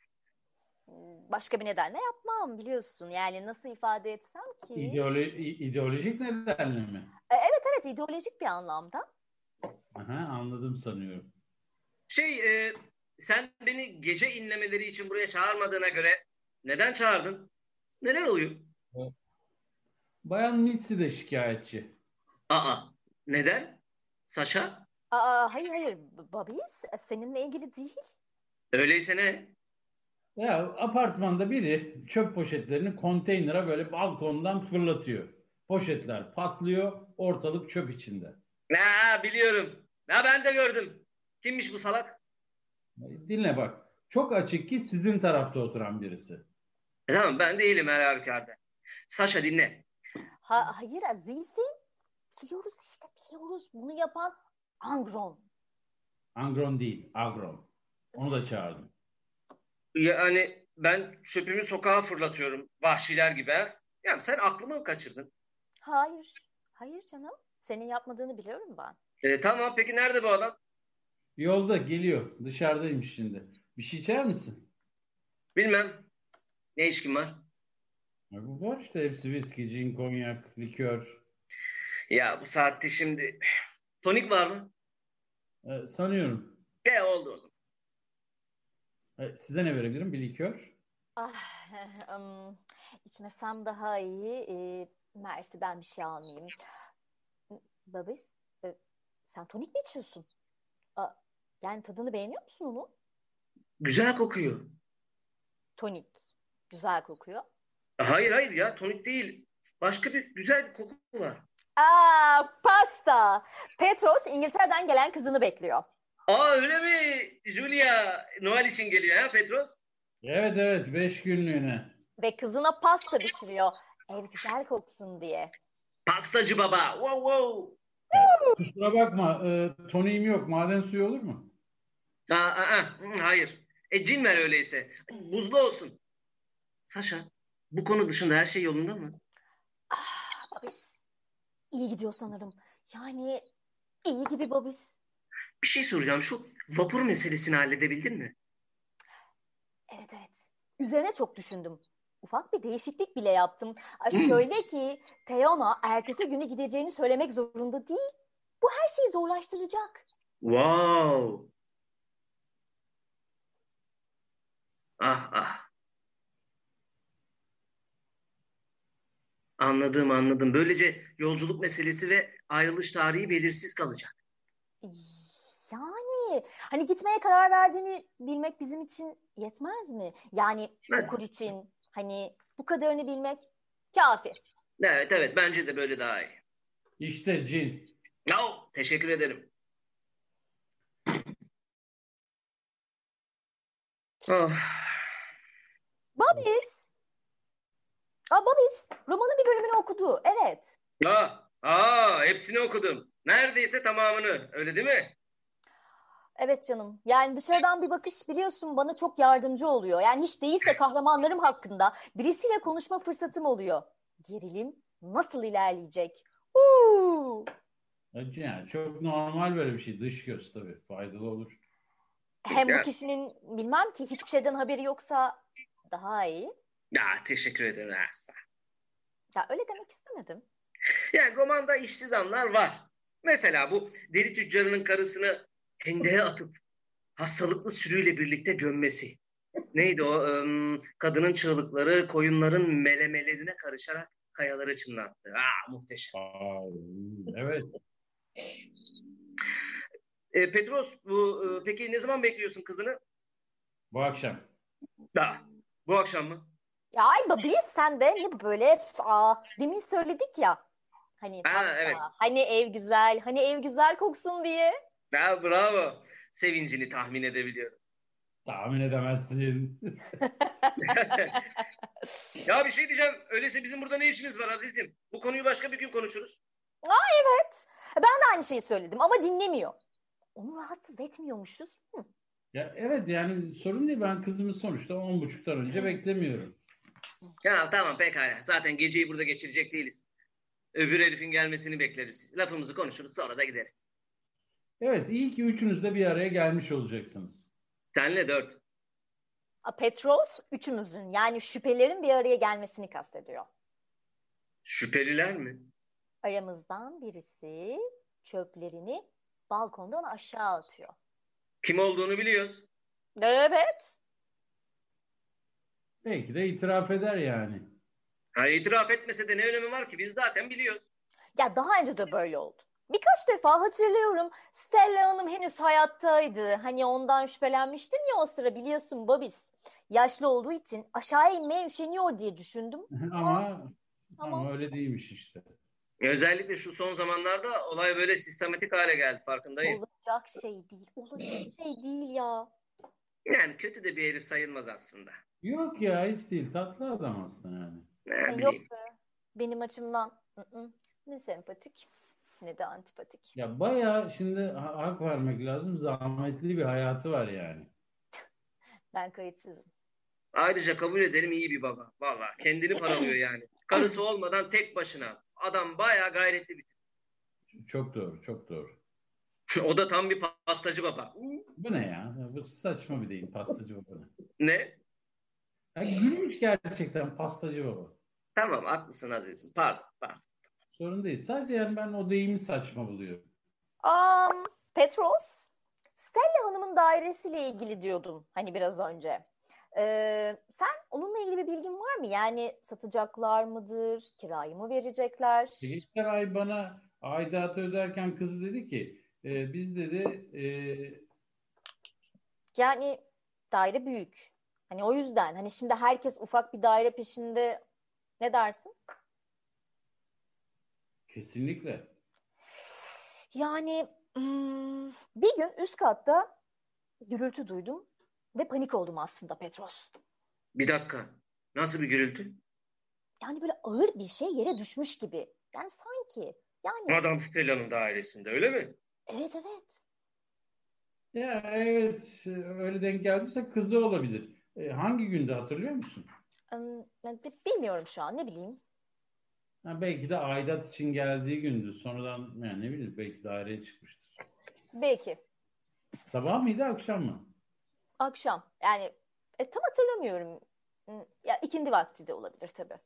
S5: Başka bir nedenle yapmam biliyorsun. Yani nasıl ifade etsem ki?
S3: İdeolo- i- ideolojik nedenle mi?
S5: E, evet evet ideolojik bir anlamda.
S3: Aha, anladım sanıyorum.
S4: Şey e, sen beni gece inlemeleri için buraya çağırmadığına göre neden çağırdın? Neler oluyor?
S3: Bayan Mitsi de şikayetçi.
S4: Aa neden? Saşa?
S5: Aa, hayır hayır Babis seninle ilgili değil.
S4: Öyleyse ne?
S3: Ya apartmanda biri çöp poşetlerini konteynere böyle balkondan fırlatıyor. Poşetler patlıyor, ortalık çöp içinde.
S4: Ha, biliyorum. Ha, ben de gördüm. Kimmiş bu salak?
S3: Dinle bak. Çok açık ki sizin tarafta oturan birisi.
S4: E, tamam ben değilim her halükarda. Saşa dinle.
S5: Ha, hayır azizim biliyoruz işte biliyoruz bunu yapan Angron.
S3: Angron değil, Agron. Onu da çağırdım.
S4: Yani ben çöpümü sokağa fırlatıyorum vahşiler gibi. ha. Ya sen aklımı mı kaçırdın?
S5: Hayır hayır canım senin yapmadığını biliyorum ben.
S4: E, tamam peki nerede bu adam?
S3: Yolda geliyor. Dışarıdaymış şimdi. Bir şey içer misin?
S4: Bilmem. Ne işkin var?
S3: Ya Bu var işte hepsi viski, cin, konyak, likör.
S4: Ya bu saatte şimdi tonik var mı?
S3: Ee, sanıyorum.
S4: De oldu o zaman.
S3: Ee, size ne verebilirim? Bir likör.
S5: Ah, ım, içmesem daha iyi. Ee, mersi ben bir şey almayayım. Babis, e, sen tonik mi içiyorsun? Aa, yani tadını beğeniyor musun onun?
S4: Güzel kokuyor.
S5: Tonik. Güzel kokuyor.
S4: E, Hayır hayır ya tonik değil. Başka bir güzel bir koku var.
S5: Aa, pasta. Petros İngiltere'den gelen kızını bekliyor.
S4: Aa öyle mi? Julia Noel için geliyor ha Petros?
S3: Evet evet beş günlüğüne.
S5: Ve kızına pasta pişiriyor. Ev güzel koksun diye.
S4: Pastacı baba. Wow wow.
S3: Kusura bakma e, toniğim yok. Maden suyu olur mu?
S4: Aa, aa, hı, hayır. E cin ver öyleyse. Buzlu olsun. Saşa bu konu dışında her şey yolunda mı?
S5: Ah, Babis. İyi gidiyor sanırım. Yani iyi gibi Babis.
S4: Bir şey soracağım. Şu vapur meselesini halledebildin mi?
S5: Evet evet. Üzerine çok düşündüm. Ufak bir değişiklik bile yaptım. Ay, Şöyle ki Teona ertesi günü gideceğini söylemek zorunda değil. Bu her şeyi zorlaştıracak.
S4: Wow. Ah ah. Anladım anladım. Böylece yolculuk meselesi ve ayrılış tarihi belirsiz kalacak.
S5: Yani hani gitmeye karar verdiğini bilmek bizim için yetmez mi? Yani
S4: Evet.
S5: okul için hani bu kadarını bilmek kafi.
S4: Evet evet bence de böyle daha iyi.
S3: İşte cin.
S4: Yahu, teşekkür ederim. Ah,
S5: Babis. Aa, Babis romanın bir bölümünü okudu. Evet.
S4: ah, ah, hepsini okudum. Neredeyse tamamını. Öyle değil mi?
S5: Evet canım. Yani dışarıdan bir bakış biliyorsun bana çok yardımcı oluyor. Yani hiç değilse kahramanlarım hakkında birisiyle konuşma fırsatım oluyor. Gerilim nasıl ilerleyecek? Huu!
S3: E, Yani çok normal böyle bir şey. Dış göz tabii. Faydalı olur.
S5: Hem bu
S4: Evet.
S5: kişinin bilmem ki hiçbir şeyden haberi yoksa daha iyi.
S4: Ya teşekkür ederim Ersa.
S5: Ya öyle demek istemedim.
S4: Yani romanda işsiz anlar var. Mesela bu deli tüccarının karısını hendeğe atıp hastalıklı sürüyle birlikte gömmesi. Neydi o? Im, Kadının çığlıkları koyunların melemelerine karışarak kayalara çınlattı. Aa muhteşem.
S3: Aa, evet.
S4: E, Petros bu e, peki ne zaman bekliyorsun kızını?
S3: Bu akşam.
S4: Daha. Bu akşam mı?
S5: Ya ay babiyiz sen de ne böyle f- aa, demin söyledik ya. Hani
S4: Ha,
S5: pasta,
S4: evet.
S5: hani ev güzel, hani ev güzel koksun diye.
S4: Ha, bravo. Sevincini tahmin edebiliyorum.
S3: Tahmin edemezsin.
S4: Ya bir şey diyeceğim. Öyleyse bizim burada ne işimiz var azizim? Bu konuyu başka bir gün konuşuruz.
S5: Ben de aynı şeyi söyledim ama dinlemiyor. Onu rahatsız etmiyormuşuz. Hı.
S3: ya, evet yani sorun değil. Ben kızımı sonuçta on buçuktan önce beklemiyorum.
S4: Ya tamam pekala. Zaten geceyi burada geçirecek değiliz. Öbür herifin gelmesini bekleriz. Lafımızı konuşuruz sonra da gideriz.
S3: Evet iyi ki üçünüz de bir araya gelmiş olacaksınız.
S4: Senle dört.
S5: A, Petros üçümüzün yani şüphelerin bir araya gelmesini kastediyor.
S4: Şüpheliler mi?
S5: Aramızdan birisi çöplerini balkondan aşağı atıyor.
S4: Kim olduğunu biliyoruz.
S5: Evet.
S3: Belki de itiraf eder yani.
S4: Ha, itiraf etmese de ne önemi var ki? Biz zaten biliyoruz.
S5: Ya daha önce de böyle oldu. Birkaç defa hatırlıyorum Stella Hanım henüz hayattaydı. Hani ondan şüphelenmiştim ya o sıra biliyorsun Babis. Yaşlı olduğu için aşağı inmeye üşeniyor diye düşündüm.
S3: ama,
S5: Tamam.
S3: ama öyle değilmiş işte.
S4: Özellikle şu son zamanlarda olay böyle sistematik hale geldi farkındayım.
S5: Olacak şey değil. Olacak şey değil ya.
S4: Yani kötü de bir herif sayılmaz aslında.
S3: Yok ya hiç değil. Tatlı adam aslında yani.
S4: Ne
S5: Ay,
S4: bileyim.
S5: Yok be. Benim açımdan ı-ı. ne sempatik ne de antipatik.
S3: Ya bayağı şimdi ha- hak vermek lazım. Zahmetli bir hayatı var yani.
S5: Ben kayıtsızım.
S4: Ayrıca kabul edelim iyi bir baba. Valla kendini paralıyor yani. Karısı olmadan tek başına. Adam bayağı gayretli bir
S3: Çok doğru, çok doğru.
S4: tip. O da tam bir pastacı baba.
S3: Bu ne ya? Bu saçma bir deyim pastacı baba.
S4: Ne?
S3: Ya gülmüş gerçekten pastacı baba.
S4: Tamam haklısın azizim. Pardon, pardon.
S3: Sorun değil. Sadece yani ben o deyimi saçma buluyorum.
S5: Am, Petros, Stella Hanım'ın dairesiyle ilgili diyordum hani biraz önce. Ee, sen onunla ilgili bir bilgin var mı? Yani satacaklar mıdır? Kirayı mı verecekler?
S3: Geçen ay bana aidatı öderken kız dedi ki e, biz dedi e,
S5: Yani daire büyük. Hani o yüzden hani şimdi herkes ufak bir daire peşinde ne dersin?
S3: kesinlikle
S5: Yani Hmm, Bir gün üst katta gürültü duydum ve panik oldum aslında Petros.
S4: Bir dakika. Nasıl bir gürültü?
S5: Yani böyle ağır bir şey yere düşmüş gibi. Yani sanki. Yani
S4: Madame Stella'nın dairesinde öyle mi?
S5: evet evet.
S3: Ya evet e, öyle denk geldiyse kızı olabilir. E, hangi günde hatırlıyor musun?
S5: Hmm, yani bi- bilmiyorum şu an ne bileyim.
S3: Ha, belki de aidat için geldiği gündü. Sonradan yani ne bileyim belki daireye çıkmıştır.
S5: Belki
S3: Sabah mıydı akşam mı?
S5: akşam. Yani e, tam hatırlamıyorum. Hmm, Ya ikindi vakti de olabilir tabii.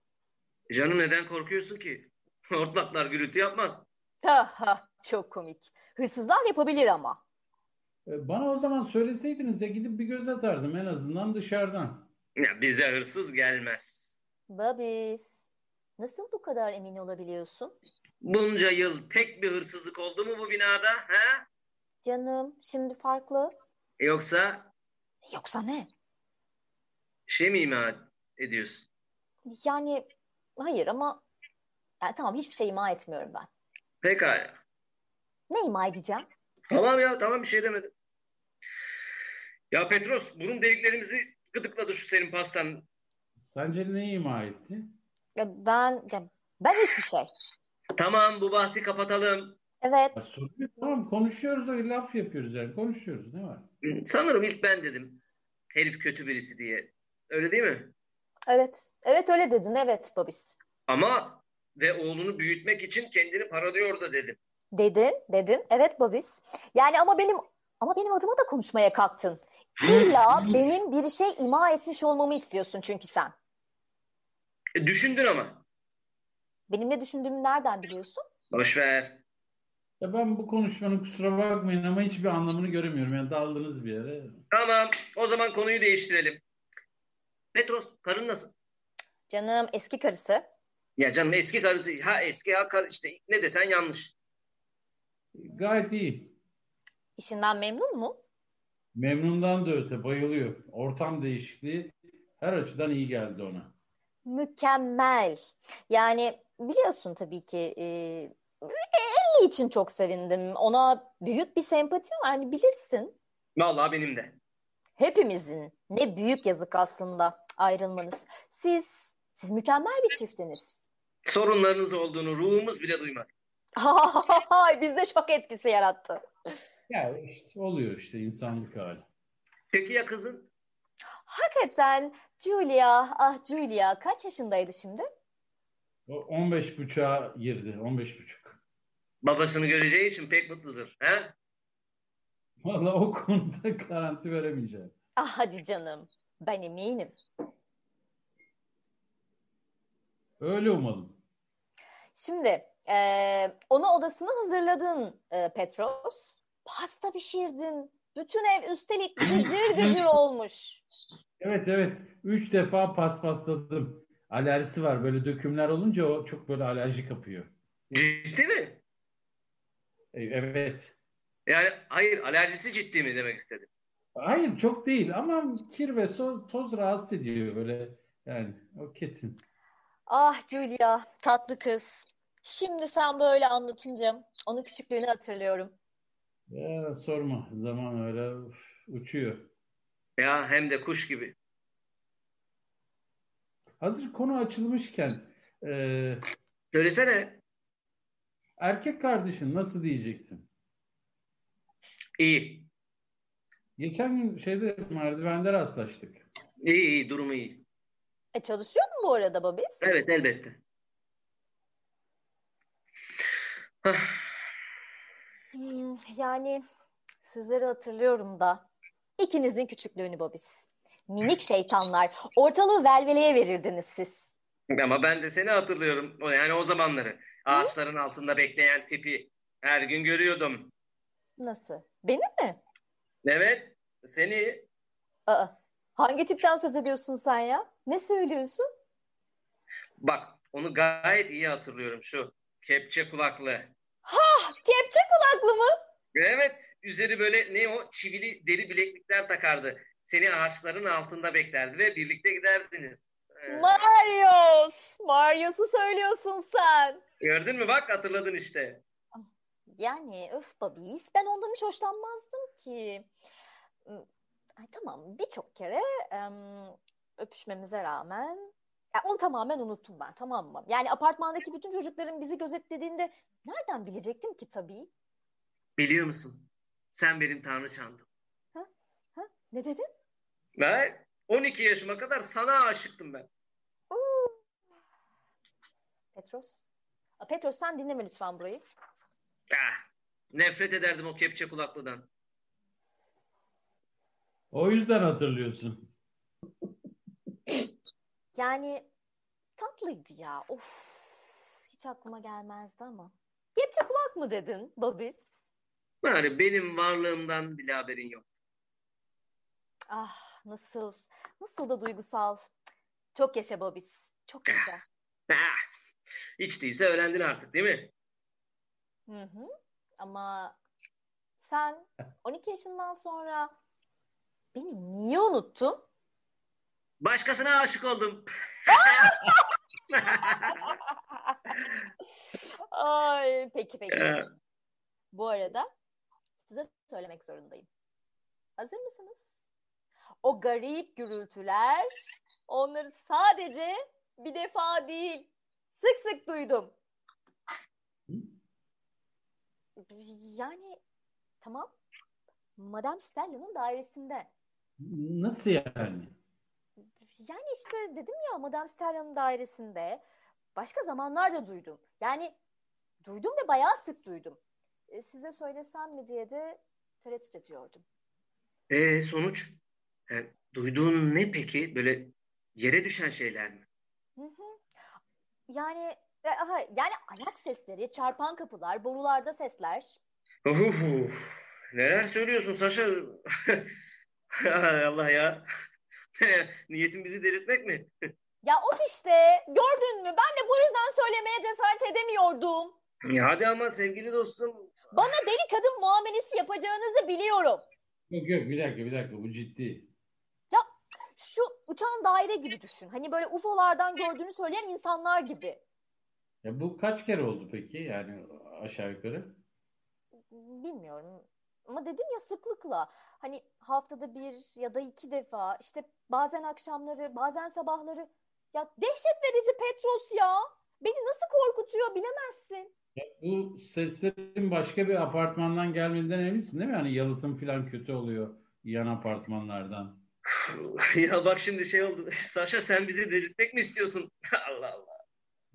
S4: E Canım neden korkuyorsun ki? Hortlaklar gürültü yapmaz.
S5: Ha ha Ah, çok komik. Hırsızlar yapabilir ama.
S3: E, bana o zaman söyleseydiniz ya gidip bir göz atardım en azından dışarıdan.
S4: Ya bize hırsız gelmez.
S5: Babis. Nasıl bu kadar emin olabiliyorsun?
S4: Bunca yıl tek bir hırsızlık oldu mu bu binada? Ha?
S5: Canım şimdi farklı.
S4: Yoksa
S5: Yoksa ne?
S4: şey mi ima ediyorsun?
S5: Yani hayır ama yani tamam hiçbir şey ima etmiyorum ben.
S4: Pekala.
S5: Ne ima edeceğim?
S4: Tamam ya tamam bir şey demedim. Ya Petros burun deliklerimizi gıdıkladı şu senin pastan.
S3: Sence ne ima etti?
S5: Ya ben ya ben hiçbir şey.
S4: Tamam bu bahsi kapatalım.
S3: Ya,
S5: Evet.
S3: sorun yok. Tamam konuşuyoruz öyle laf yapıyoruz yani konuşuyoruz ne var?
S4: Sanırım ilk ben dedim. Herif kötü birisi diye. Öyle değil mi?
S5: Evet. Evet öyle dedin. Evet Babis.
S4: Ama ve oğlunu büyütmek için kendini paralıyor da dedim.
S5: Dedin, dedin. Evet Babis. Yani ama benim ama benim adıma da konuşmaya kalktın. İlla benim bir şey ima etmiş olmamı istiyorsun çünkü sen.
S4: E, düşündün ama.
S5: Benim ne düşündüğümü nereden biliyorsun?
S4: Boş ver.
S3: Ya ben bu konuşmanın kusura bakmayın ama hiçbir anlamını göremiyorum. Yani daldınız bir yere.
S4: Tamam o zaman konuyu değiştirelim. Petros karın nasıl?
S5: Canım eski karısı.
S4: Ya canım eski karısı ha eski ha kar işte ne desen yanlış.
S3: Gayet iyi.
S5: İşinden memnun mu?
S3: Memnundan da öte bayılıyor. Ortam değişikliği her açıdan iyi geldi ona.
S5: Mükemmel. Yani biliyorsun tabii ki e, Ellie için çok sevindim. Ona büyük bir sempatim var. Hani bilirsin.
S4: Vallahi benim de.
S5: Hepimizin. Ne büyük yazık aslında ayrılmanız. Siz, siz mükemmel bir çiftiniz.
S4: Sorunlarınız olduğunu ruhumuz bile duymadı.
S5: Bizde şok etkisi yarattı.
S3: Ya işte oluyor işte insanlık hali.
S4: Peki ya kızın?
S5: Hakikaten Julia, ah Julia kaç yaşındaydı şimdi?
S3: O 15 buçuğa girdi. 15 buçuk.
S4: Babasını göreceği için pek mutludur. He?
S3: Valla o konuda garanti veremeyeceğim.
S5: Ah hadi canım. Ben eminim.
S3: Öyle umalım.
S5: Şimdi eee, ona odasını hazırladın eee, Petros. Pasta pişirdin. Bütün ev üstelik gıcır gıcır olmuş.
S3: Evet evet. Üç defa paspasladım. Alerjisi var. Böyle dökümler olunca o çok böyle alerji kapıyor.
S4: Ciddi mi?
S3: E, Evet.
S4: Yani hayır alerjisi ciddi mi demek istedim.
S3: Hayır çok değil ama kir ve so- toz rahatsız ediyor böyle yani o kesin.
S5: Ah Julia, tatlı kız. Şimdi sen böyle anlatınca onun küçüklüğünü hatırlıyorum.
S3: Ya, sorma zaman öyle uf, uçuyor.
S4: Ya hem de kuş gibi.
S3: Hazır konu açılmışken e,
S4: Söylesene.
S3: erkek kardeşin nasıl diyecektim?
S4: İyi.
S3: Geçen gün şeyde merdivende rastlaştık.
S4: İyi iyi durumu iyi.
S5: E çalışıyor mu bu arada Babis?
S4: Evet elbette. Hah.
S5: Hmm, yani sizleri hatırlıyorum da. İkinizin küçüklüğünü Babis. Minik şeytanlar. Ortalığı velveleye verirdiniz siz.
S4: Ama ben de seni hatırlıyorum. O- Yani o zamanları. Ağaçların altında bekleyen tipi her gün görüyordum.
S5: Nasıl? Benim mi?
S4: Evet. Seni
S5: Aa, hangi tipten söz ediyorsun sen ya? Ne söylüyorsun?
S4: bak onu gayet iyi hatırlıyorum şu kepçe kulaklı.
S5: Kepçe kulaklı mı?
S4: Evet. Üzeri böyle ne o çivili deri bileklikler takardı. Seni ağaçların altında beklerdi ve birlikte giderdiniz. Ee,
S5: Marius! Marius'u söylüyorsun sen.
S4: Ee, gördün mü? Bak hatırladın işte.
S5: Yani öf babis. Ben ondan hiç hoşlanmazdım ki. Hmm, Ay, tamam birçok kere em, öpüşmemize rağmen ya onu tamamen unuttum ben tamam mı? Yani apartmandaki bütün çocukların bizi gözetlediğinde nereden bilecektim ki tabii?
S4: Biliyor musun? Sen benim tanrıçamdın.
S5: Ha? Ne dedin?
S4: Ben 12 yaşıma kadar sana aşıktım ben.
S5: Petros? Aa, Petros sen dinleme lütfen burayı.
S4: Ah, nefret ederdim o kepçe kulaklıdan.
S3: O yüzden hatırlıyorsun.
S5: Yani tatlıydı ya. Of. Hiç aklıma gelmezdi ama. Kepçe kulak mı dedin Babis?
S4: Yani benim varlığımdan bile haberin yok.
S5: Ah nasıl, nasıl da duygusal. Çok yaşa Babis. Çok yaşa.
S4: Ah, hiç değilse öğrendin artık değil mi?
S5: Hı hı. Ama sen 12 yaşından sonra beni niye unuttun?
S4: Başkasına aşık oldum.
S5: Ay peki peki.
S4: Ee,
S5: Bu arada size söylemek zorundayım. Hazır mısınız? O garip gürültüler, onları sadece bir defa değil, sık sık duydum. Yani tamam. Madame Stella'nın dairesinde.
S3: Nasıl yani?
S5: Yani işte dedim ya Madame Stella'nın dairesinde başka zamanlarda duydum. Yani duydum ve bayağı sık duydum. E, size söylesem mi diye de tereddüt ediyordum.
S4: Ee, sonuç? Yani duyduğun ne peki? Böyle yere düşen şeyler mi?
S5: Hı hı. Yani e, aha, yani ayak sesleri, çarpan kapılar, borularda sesler.
S4: Uf, neler söylüyorsun Saşa? Ay Allah ya. Niyetin bizi delirtmek mi?
S5: Ya of işte gördün mü? Ben de bu yüzden söylemeye cesaret edemiyordum.
S4: Ya hadi ama sevgili dostum.
S5: Bana deli kadın muamelesi yapacağınızı biliyorum.
S3: Yok yok bir dakika bir dakika bu ciddi.
S5: Şu uçan daire gibi düşün. Hani böyle UFO'lardan gördüğünü söyleyen insanlar gibi.
S3: Ya bu kaç kere oldu peki yani aşağı yukarı?
S5: Bilmiyorum. Ama dedim ya sıklıkla. Hani haftada bir ya da iki defa işte bazen akşamları bazen sabahları. Ya dehşet verici Petros ya. Beni nasıl korkutuyor bilemezsin.
S3: Bu seslerin başka bir apartmandan gelmediğinden eminsin değil mi? Yani yalıtım falan kötü oluyor yan apartmanlardan.
S4: ya bak şimdi şey oldu. Saşa sen bizi delirtmek mi istiyorsun? Allah Allah.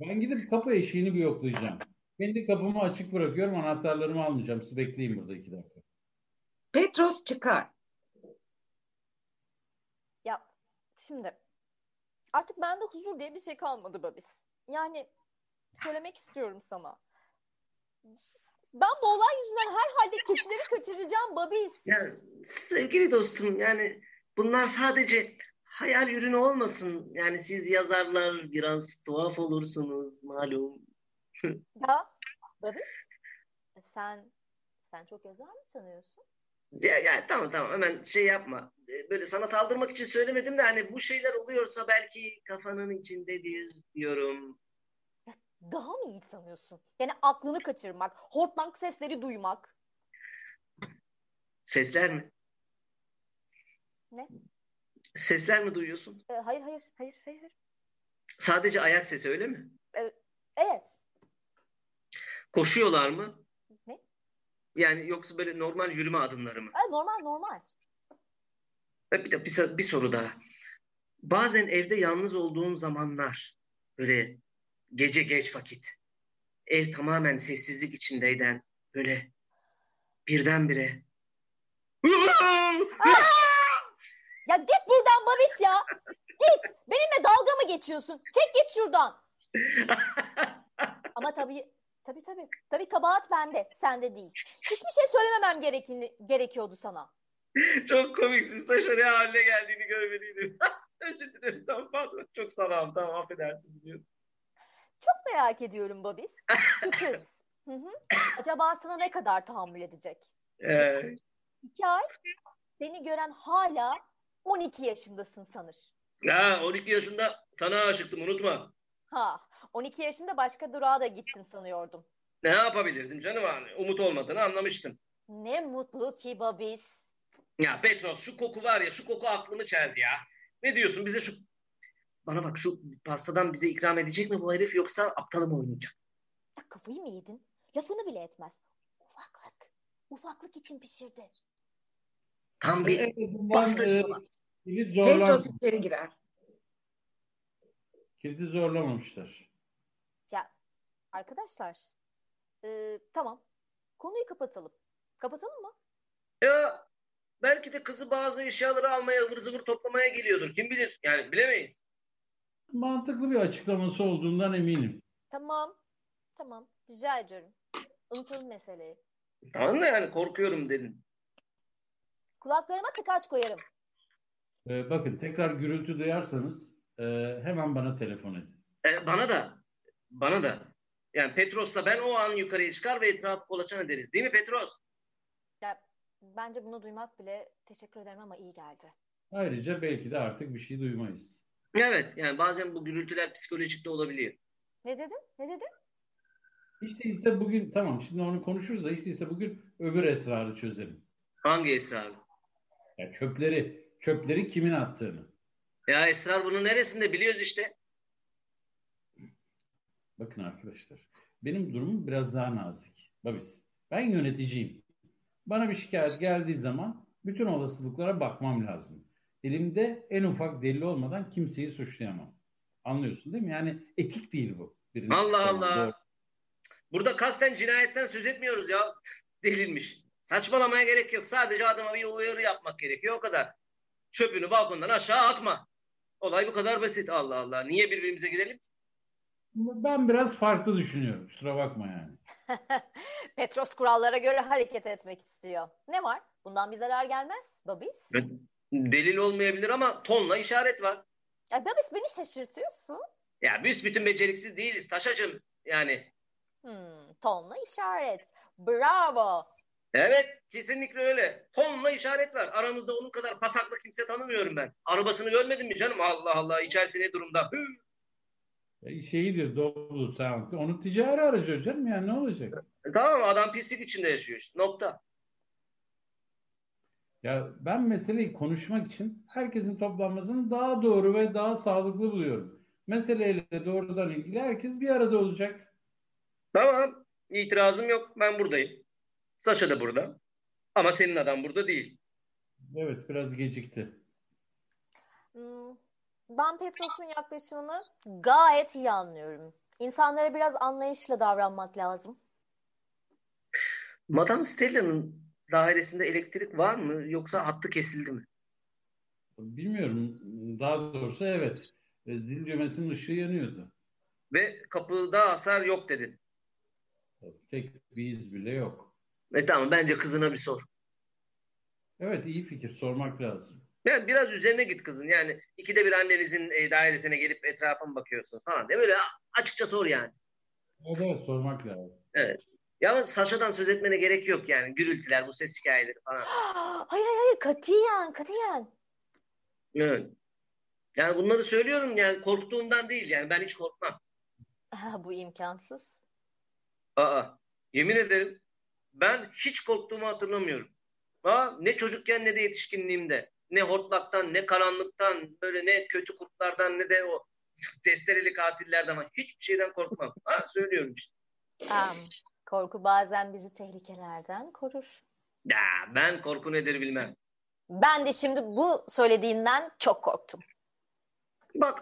S3: Ben gidip kapı eşiğini bir yoklayacağım. Kendi kapımı açık bırakıyorum anahtarlarımı almayacağım. Siz bekleyin burada iki dakika.
S1: Petros çıkar.
S5: Ya şimdi artık bende huzur diye bir şey kalmadı Babis. Yani söylemek istiyorum sana. Ben bu olay yüzünden herhalde keçileri kaçıracağım Babis.
S4: Ya sevgili dostum yani bunlar sadece hayal ürünü olmasın. Yani siz yazarlar biraz tuhaf olursunuz malum.
S5: Ya Babis sen sen çok yazar mı sanıyorsun?
S4: Ya, ya tamam tamam hemen şey yapma. Ee, Böyle sana saldırmak için söylemedim de hani bu şeyler oluyorsa belki kafanın içindedir diyorum.
S5: Daha mı iyi sanıyorsun? Yani aklını kaçırmak, hortlank sesleri duymak.
S4: Sesler mi?
S5: Ne?
S4: Sesler mi duyuyorsun?
S5: E, hayır hayır hayır hayır. hayır.
S4: Sadece ayak sesi öyle mi?
S5: Evet.
S4: Koşuyorlar mı?
S5: Ne?
S4: Yani yoksa böyle normal yürüme adımları mı?
S5: E, normal normal.
S4: Ve Bir de bir, sa- bir soru daha. Bazen evde yalnız olduğum zamanlar böyle gece geç vakit ev tamamen sessizlik içindeyden böyle birdenbire
S5: Ya git buradan Babis ya. Git. Benimle dalga mı geçiyorsun? Çek git şuradan. Ama tabii tabii tabii. Tabii kabahat bende, sende değil. Hiçbir şey söylememem gerekini, gerekiyordu sana.
S4: Çok komiksin. Saşa ne haline geldiğini görmeliydim. Özür dilerim. Tamam pardon. Çok salam. Tamam affedersin. Diyorum.
S5: Çok merak ediyorum Babis. Şu kız. Hı hı. Acaba sana ne kadar tahammül edecek?
S4: Ee,
S5: İki ay seni gören hala 12 yaşındasın sanır.
S4: ya 12 yaşında sana aşıktım unutma.
S5: Ha, 12 yaşında başka durağa da gittin sanıyordum.
S4: Ne yapabilirdim canım hani umut olmadığını anlamıştım.
S5: Ne mutlu ki Babis.
S4: Ya Petros şu koku var ya şu koku aklımı çeldi ya. Ne diyorsun bize şu bana bak şu pastadan bize ikram edecek mi bu herif yoksa aptal mı oynayacak?
S5: Ya kafayı mı yedin? Lafını bile etmez. Ufaklık. Ufaklık için pişirdi.
S4: Tam bir
S3: En azından,
S4: pastacı
S3: e,
S4: falan.
S3: kilidi
S1: Petros
S3: zorlamamışlar.
S1: içeri girer.
S3: Kilidi zorlamamışlar.
S5: Ya arkadaşlar. e, tamam. Konuyu kapatalım. Kapatalım mı?
S4: Ya belki de kızı bazı eşyaları almaya ıvır zıvır toplamaya geliyordur. Kim bilir yani bilemeyiz.
S3: Mantıklı bir açıklaması olduğundan eminim.
S5: Tamam. Tamam. Rica ediyorum. Unutalım meseleyi.
S4: Tamam da yani korkuyorum dedin.
S5: Kulaklarıma tıkaç koyarım.
S3: Ee, bakın tekrar gürültü duyarsanız e, hemen bana telefon edin.
S4: E, bana da bana da yani Petros'la ben o an yukarıya çıkar ve etrafı kolaçan ederiz değil mi Petros?
S5: Ya bence bunu duymak bile teşekkür ederim ama iyi geldi.
S3: Ayrıca belki de artık bir şey duymayız.
S4: Evet yani bazen bu gürültüler psikolojik de olabiliyor.
S5: Ne dedin? Ne dedin?
S3: Hiç değilse bugün tamam şimdi onu konuşuruz da hiç değilse bugün öbür esrarı çözelim.
S4: Hangi esrar?
S3: Ya çöpleri, çöpleri kimin attığını.
S4: Ya esrar bunun neresinde biliyoruz işte.
S3: Bakın arkadaşlar benim durumum biraz daha nazik. Babis ben yöneticiyim. Bana bir şikayet geldiği zaman bütün olasılıklara bakmam lazım. Elimde en ufak delil olmadan kimseyi suçlayamam. Anlıyorsun değil mi? Yani etik değil bu. Birini
S4: Allah
S3: suçlamam,
S4: Allah.
S3: doğru.
S4: Burada kasten cinayetten söz etmiyoruz ya. Delilmiş. Saçmalamaya gerek yok. Sadece adama bir uyarı yapmak gerekiyor. O kadar. Çöpünü balkondan aşağı atma. Olay bu kadar basit. Allah Allah. Niye birbirimize girelim?
S3: Ben biraz farklı düşünüyorum. Kusura bakma yani.
S5: Petros kurallara göre hareket etmek istiyor. Ne var? Bundan bir zarar gelmez. Babis.
S4: Evet. Delil olmayabilir ama tonla işaret var.
S5: Ya Babis beni şaşırtıyorsun.
S4: Ya büsbütün beceriksiz değiliz Taşacığım. Yani
S5: Hmm, tonla işaret. Bravo.
S4: evet kesinlikle öyle. Tonla işaret var. Aramızda onun kadar pasaklı kimse tanımıyorum ben. Arabasını görmedin mi canım? Allah Allah içerisi ne durumda? Hı.
S3: E, Şeyidir doğru sound. Onu ticari aracı hocam yani ne olacak?
S4: E, Tamam adam pislik içinde yaşıyor işte. Nokta.
S3: Ya ben meseleyi konuşmak için herkesin toplanmasını daha doğru ve daha sağlıklı buluyorum. Meseleyle doğrudan ilgili herkes bir arada olacak.
S4: Tamam. itirazım yok. Ben buradayım. Saşa da burada. Ama senin adam burada değil.
S3: Evet biraz gecikti.
S5: Hmm, ben Petros'un yaklaşımını gayet iyi anlıyorum. İnsanlara biraz anlayışla davranmak lazım.
S4: Madame Stella'nın dairesinde elektrik var mı yoksa hattı kesildi mi?
S3: Bilmiyorum daha doğrusu evet. E, Zil düğmesinin ışığı yanıyordu.
S4: Ve kapıda hasar yok dedin.
S3: Tek bir iz bile yok.
S4: E tamam bence kızına bir sor.
S3: Evet iyi fikir sormak lazım.
S4: Yani biraz üzerine git kızın. Yani ikide bir annenizin e, dairesine gelip etrafa mı bakıyorsun falan. De böyle a- açıkça sor yani.
S3: Evet, evet sormak lazım.
S4: Ya ama Saşa'dan söz etmene gerek yok yani. Gürültüler, bu ses hikayeleri falan.
S5: Hayır hayır hayır katiyen katiyen.
S4: Evet. Yani bunları söylüyorum yani korktuğumdan değil yani ben hiç korkmam.
S5: Ah, Bu imkansız.
S4: Aa, yemin ederim ben hiç korktuğumu hatırlamıyorum. Aa, ne çocukken ne de yetişkinliğimde. Ne hortlaktan, ne karanlıktan, böyle ne kötü kurtlardan ne de o testereli katillerden. falan. Hiçbir şeyden korkmam. Ha, söylüyorum işte.
S5: Am, korku bazen bizi tehlikelerden korur.
S4: Ya, ben korku nedir bilmem.
S5: Ben de şimdi bu söylediğinden çok korktum.
S4: Bak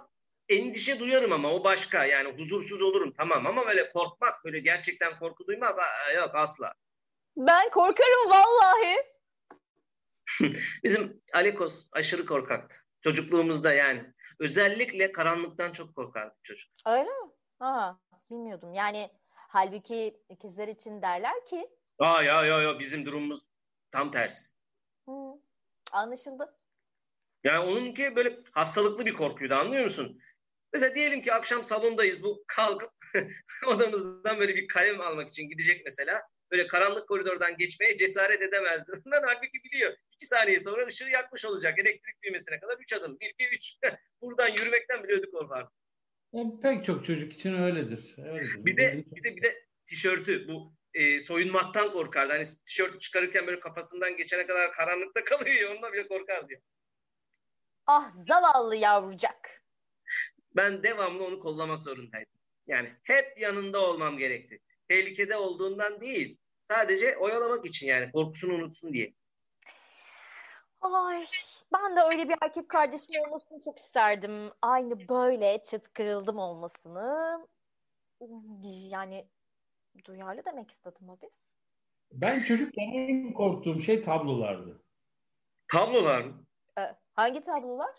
S4: endişe duyarım ama o başka. Yani huzursuz olurum tamam ama böyle korkmak böyle gerçekten korku duymak aa, yok asla.
S5: Ben korkarım vallahi.
S4: Bizim Alekos aşırı korkaktı. Çocukluğumuzda yani. Özellikle karanlıktan çok korkardı çocuk.
S5: Öyle mi? Aa, bilmiyordum. Yani halbuki ikizler için derler ki
S4: Aa ya ya ya bizim durumumuz tam tersi.
S5: hı, anlaşıldı.
S4: Yani onunki böyle hastalıklı bir korkuydu anlıyor musun? Mesela diyelim ki akşam salondayız bu kalkıp odamızdan böyle bir kalem almak için gidecek mesela. Böyle karanlık koridordan geçmeye cesaret edemezdi. Bundan halbuki biliyor. İki saniye sonra ışığı yakmış olacak. Elektrik düğmesine kadar üç adım. Bir, iki, üç. Buradan yürümekten bile ödü korkardı.
S3: Ya, pek çok çocuk için öyledir. Öyledir.
S4: Bir de, bir de, bir de tişörtü bu e, soyunmaktan korkardı. Hani tişörtü çıkarırken böyle kafasından geçene kadar karanlıkta kalıyor ya ondan bile korkar diyor.
S5: Ah zavallı yavrucak.
S4: Ben devamlı onu kollamak zorundaydım. Yani hep yanında olmam gerekti. Tehlikede olduğundan değil. Sadece oyalamak için yani korkusunu unutsun diye.
S5: Ay ben de öyle bir erkek kardeşim olmasını çok isterdim. Aynı böyle çıt kırıldım olmasını. Yani duyarlı demek istedim abi.
S3: Ben çocukken en korktuğum şey tablolardı.
S4: Tablolar mı?
S5: Ee, hangi tablolar?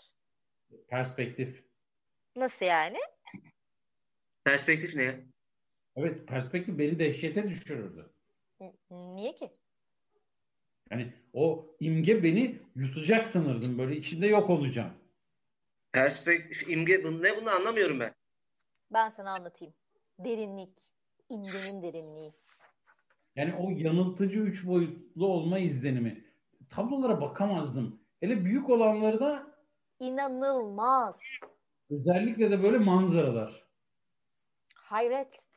S3: Perspektif.
S5: Nasıl yani?
S4: Perspektif ne ya?
S3: Evet perspektif beni dehşete düşürürdü.
S5: N- Niye ki?
S3: Yani o imge beni yutacak sanırdım böyle içinde yok olacağım.
S4: Perspektif, imge bu ne bunu anlamıyorum ben.
S5: Ben sana anlatayım. Derinlik. İmgenin derinliği.
S3: Yani o yanıltıcı üç boyutlu olma izlenimi. Tablolara bakamazdım. Hele büyük olanları da
S5: İnanılmaz.
S3: özellikle de böyle manzaralar.
S5: Hayret.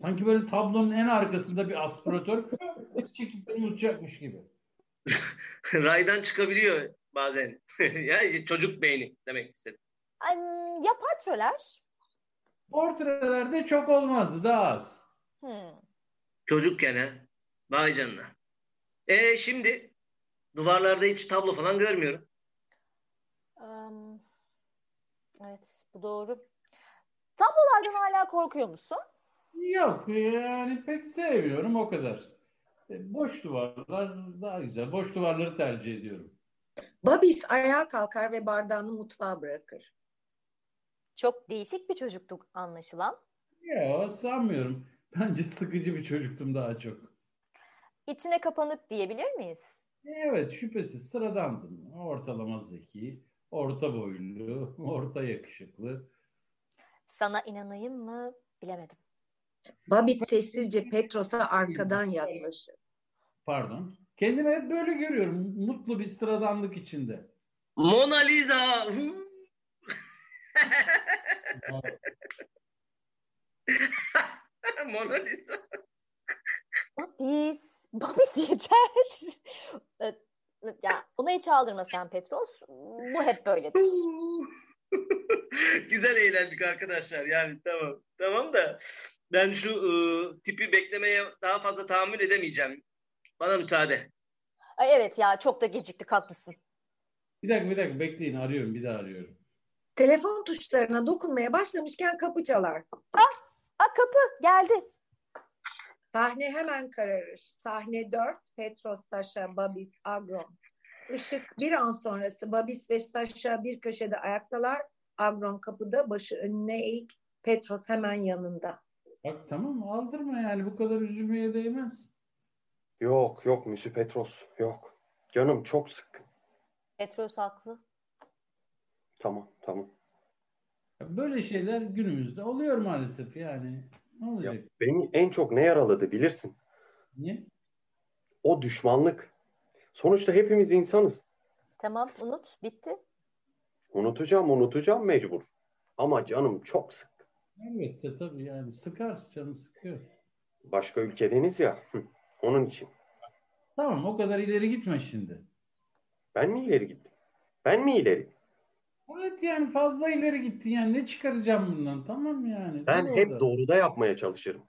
S3: Sanki böyle tablonun en arkasında bir aspiratör çekip beni unutacakmış gibi.
S4: Raydan çıkabiliyor bazen. yani çocuk beyni demek istedim.
S5: Ay, ya portreler?
S3: Portrelerde çok olmazdı daha az.
S5: Hmm.
S4: Çocukken ha. Vay canına. E şimdi duvarlarda hiç tablo falan görmüyorum.
S5: Am, evet bu doğru. Tablolardan hala korkuyor musun?
S3: Yok e, yani pek sevmiyorum o kadar. E, Boş duvarlar daha güzel. Boş duvarları tercih ediyorum.
S1: Babis ayağa kalkar ve bardağını mutfağa bırakır.
S5: Çok değişik bir çocuktuk anlaşılan.
S3: Yok sanmıyorum. Bence sıkıcı bir çocuktum daha çok.
S5: İçine kapanık diyebilir miyiz?
S3: Evet şüphesiz sıradandım. Ortalama zeki, orta boylu, orta yakışıklı.
S5: Sana inanayım mı bilemedim.
S1: Babis sessizce Petros'a arkadan
S3: Hmm.
S1: yaklaşır.
S3: Pardon. Kendimi hep böyle görüyorum. Mutlu bir sıradanlık içinde.
S4: Mona Lisa. Mona Lisa.
S5: Babis, Babis yeter. E, ya, ona hiç aldırma sen Petros. Bu hep böyledir.
S4: Güzel eğlendik arkadaşlar. Yani tamam. Tamam da ben şu ıı, tipi beklemeye daha fazla tahammül edemeyeceğim. Bana müsaade.
S5: Ay evet ya çok da geciktik haklısın.
S3: Bir dakika bir dakika bekleyin arıyorum bir daha arıyorum.
S1: Telefon tuşlarına dokunmaya başlamışken kapı çalar.
S5: Aa kapı geldi.
S1: Sahne hemen kararır. Sahne 4, Petros, Sasha, Babis, Agron. Işık bir an sonrası Babis ve Sasha bir köşede ayaktalar. Agron kapıda, başı önüne eğik. Petros hemen yanında.
S3: Bak tamam aldırma yani bu kadar üzülmeye değmez.
S2: Yok yok Müsü Petros yok. Canım çok sıkkın.
S5: Petros haklı.
S2: Tamam tamam.
S3: Ya Böyle şeyler günümüzde oluyor maalesef yani. Ne olacak?
S2: Ya, beni en çok ne yaraladı bilirsin.
S3: Niye?
S2: O düşmanlık. Sonuçta hepimiz insanız.
S5: Tamam unut bitti.
S2: Unutacağım unutacağım mecbur. Ama canım çok sık.
S3: Elbette tabii yani sıkar canı sıkıyor.
S2: Başka ülkedeniz ya. hı, Onun için.
S3: Tamam o kadar ileri gitme şimdi.
S2: Ben mi ileri gittim? Ben mi ileri?
S3: Evet yani fazla ileri gittin yani ne çıkaracağım bundan tamam yani.
S2: Ben
S3: Dur
S2: hep
S3: orada.
S2: doğruda yapmaya çalışırım.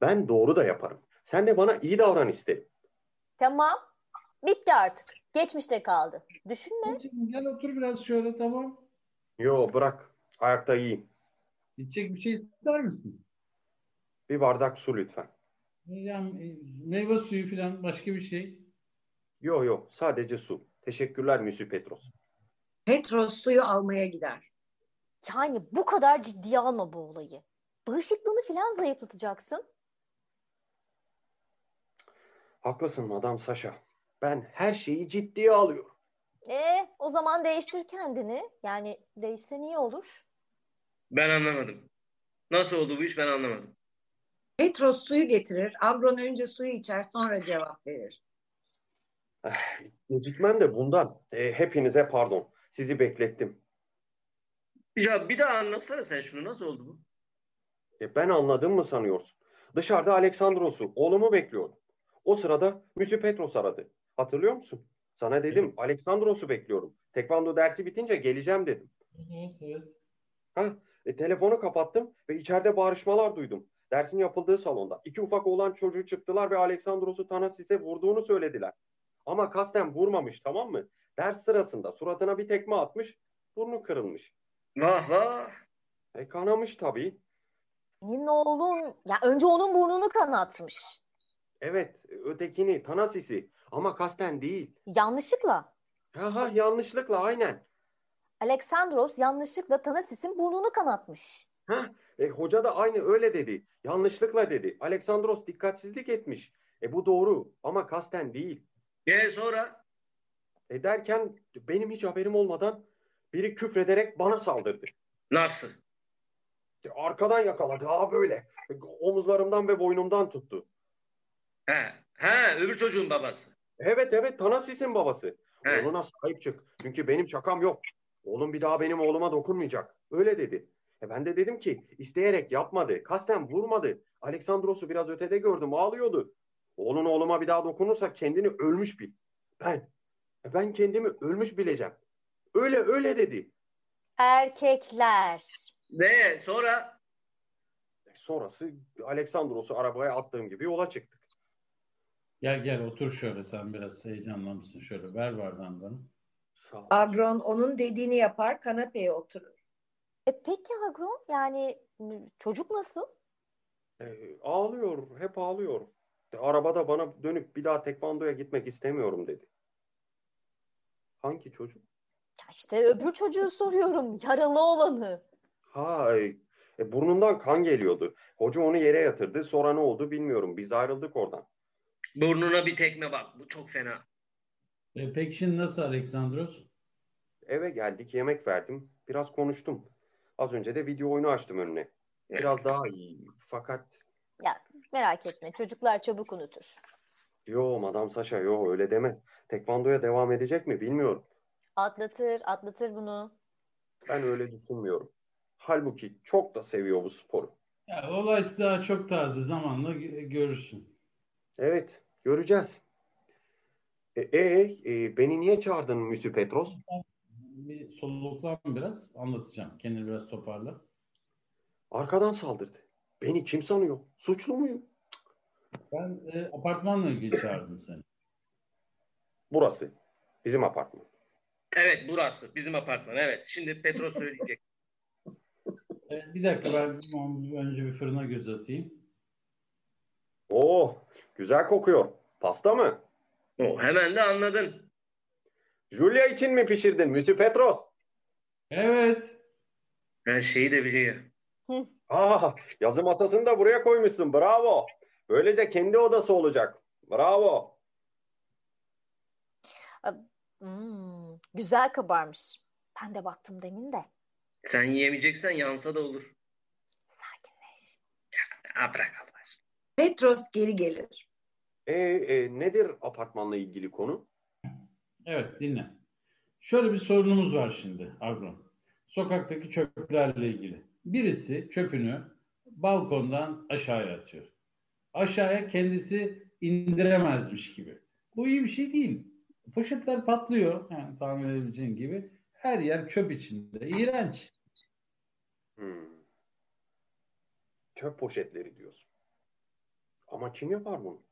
S2: Ben doğru da yaparım. Sen de bana iyi davran isterim.
S5: Tamam. Bitti artık. Geçmişte kaldı. Düşünme.
S3: Geçin, Gel otur biraz şöyle tamam.
S2: Yo bırak. Ayakta iyiyim.
S3: İçecek bir şey ister misin?
S2: Bir bardak su lütfen.
S3: Yani e, meyve suyu falan başka bir şey.
S2: Yo yo sadece su. Teşekkürler Müsü Petros.
S1: Petros suyu almaya gider.
S5: Yani bu kadar ciddiye alma bu olayı. Bağışıklığını falan zayıflatacaksın.
S2: Haklısın Madam Saşa. Ben her şeyi ciddiye alıyorum.
S5: E o zaman değiştir kendini. Yani değişse iyi olur.
S4: Ben anlamadım. Nasıl oldu bu iş ben anlamadım.
S1: Petros suyu getirir. Agron önce suyu içer sonra cevap verir.
S2: Gecikmem de bundan. E, hepinize pardon. Sizi beklettim.
S4: Ya bir daha anlatsana sen şunu nasıl oldu bu?
S2: E, ben anladım mı sanıyorsun? Dışarıda Aleksandros'u, oğlumu bekliyordum. O sırada Müsü Petros aradı. Hatırlıyor musun? Sana dedim Aleksandros'u bekliyorum. Tekvando dersi bitince geleceğim dedim.
S3: Evet, evet.
S2: Ha, e, telefonu kapattım ve içeride bağırışmalar duydum. Dersin yapıldığı salonda. iki ufak oğlan çocuğu çıktılar ve Aleksandros'u Tanasis'e vurduğunu söylediler. Ama kasten vurmamış tamam mı? Ders sırasında suratına bir tekme atmış, burnu kırılmış.
S4: Vah vah.
S2: E, kanamış tabii.
S5: Senin oğlun, ya önce onun burnunu kanatmış.
S2: Evet, e, ötekini, Tanasis'i ama kasten değil.
S5: Yanlışlıkla.
S2: Aha, yanlışlıkla aynen.
S5: Aleksandros yanlışlıkla Tanasis'in burnunu kanatmış.
S2: E, hoca da aynı öyle dedi. Yanlışlıkla dedi. Aleksandros dikkatsizlik etmiş. E bu doğru ama kasten değil.
S4: E sonra?
S2: E derken benim hiç haberim olmadan biri küfrederek bana saldırdı.
S4: Nasıl?
S2: E, Arkadan yakaladı ha böyle. E, Omuzlarımdan ve boynumdan tuttu.
S4: He. He öbür çocuğun babası.
S2: Evet evet Tanasis'in babası.
S4: He.
S2: Oğluna sahip çık. Çünkü benim şakam yok. Oğlum bir daha benim oğluma dokunmayacak. Öyle dedi. E ben de dedim ki isteyerek yapmadı. Kasten vurmadı. Aleksandros'u biraz ötede gördüm ağlıyordu. Oğlun oğluma bir daha dokunursa kendini ölmüş bil. Ben. E ben kendimi ölmüş bileceğim. Öyle öyle dedi.
S5: Erkekler.
S4: Ve sonra?
S2: E Sonrası Aleksandros'u arabaya attığım gibi yola çıktık.
S3: Gel gel otur şöyle sen biraz heyecanlanmışsın şöyle ver bardağından.
S2: Sağ ol.
S1: Agron onun dediğini yapar kanapeye oturur.
S5: E peki Agron yani m- çocuk nasıl?
S2: E, ağlıyor, hep ağlıyor. E, arabada bana dönüp bir daha tekvandoya gitmek istemiyorum dedi. Hangi çocuk?
S5: Ya işte öbür çocuğu soruyorum yaralı olanı.
S2: Ha, e, e, burnundan kan geliyordu. Hoca onu yere yatırdı. Sonra ne oldu bilmiyorum. Biz de ayrıldık oradan.
S4: Burnuna bir tekme bak. Bu çok fena.
S3: E, peki şimdi nasıl Aleksandros?
S2: Eve geldik, yemek verdim. Biraz konuştum. Az önce de video oyunu açtım önüne. Biraz daha iyi. Fakat
S5: Merak etme çocuklar çabuk unutur.
S2: yo Madam Saşa yo öyle deme. Tekvandoya devam edecek mi bilmiyorum.
S5: Atlatır atlatır bunu.
S2: Ben öyle düşünmüyorum. Halbuki çok da seviyor bu sporu.
S3: Ya, olay daha çok taze zamanla gö- görürsün.
S2: Evet, göreceğiz. E, e, e, beni niye çağırdın Müsü Petros?
S3: Bir soluklan biraz anlatacağım. Kendini biraz toparla.
S2: Arkadan saldırdı. Beni kim sanıyor? Suçlu muyum?
S3: Ben e, apartmanla ilgili çağırdım seni.
S2: Burası. Bizim apartman.
S4: Evet burası bizim apartman evet. Şimdi Petro söyleyecek.
S3: E, bir dakika ben bir- önce bir fırına göz atayım.
S2: Oo, Oh, güzel kokuyor. Pasta mı?
S4: o, hemen de anladın.
S2: Julia için mi pişirdin Müsü Petros?
S3: Evet.
S4: Her şeyi de biliyor.
S2: Aa, Ah, yazı masasını da buraya koymuşsun. Bravo. Böylece kendi odası olacak. Bravo.
S5: Hmm, güzel kabarmış. Ben de baktım demin de.
S4: Sen yiyemeyeceksen yansa da olur.
S5: Sakinleş.
S4: Ha, bırak Allah aşkına.
S1: Petros geri gelir.
S2: E, e, nedir apartmanla ilgili konu?
S3: Evet dinle. Şöyle bir sorunumuz var şimdi Agron. Sokaktaki çöplerle ilgili. Birisi çöpünü balkondan aşağıya atıyor. Aşağıya kendisi indiremezmiş gibi. Bu iyi bir şey değil. Poşetler patlıyor yani tahmin edebileceğin gibi. Her yer çöp içinde. İğrenç.
S2: Hmm. Çöp poşetleri diyorsun. Ama kim yapar bunu?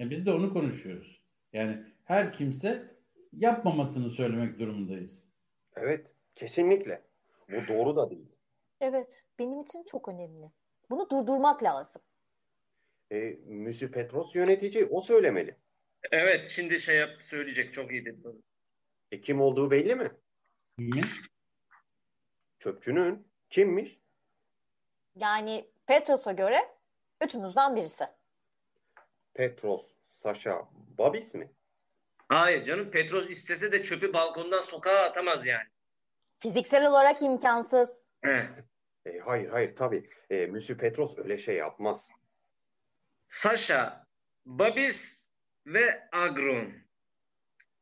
S3: E biz de onu konuşuyoruz. Yani her kimse yapmamasını söylemek durumundayız.
S2: Evet, kesinlikle. Bu doğru da değil.
S5: Evet benim için çok önemli. Bunu durdurmak lazım.
S2: E, Müsü Petros yönetici, o söylemeli.
S4: Evet şimdi şey yap söyleyecek çok iyi dedi.
S2: E, kim olduğu belli mi?
S3: Niye?
S2: Çöpçünün. Kimmiş?
S5: Yani Petros'a göre üçümüzden birisi.
S2: Petros, Saşa, Babis mi?
S4: Hayır canım Petros istese de çöpü balkondan sokağa atamaz yani.
S5: Fiziksel olarak imkansız.
S4: He.
S2: E, hayır, hayır tabii. E, Müsü Petros öyle şey yapmaz.
S4: Sasha, Babis ve Agron.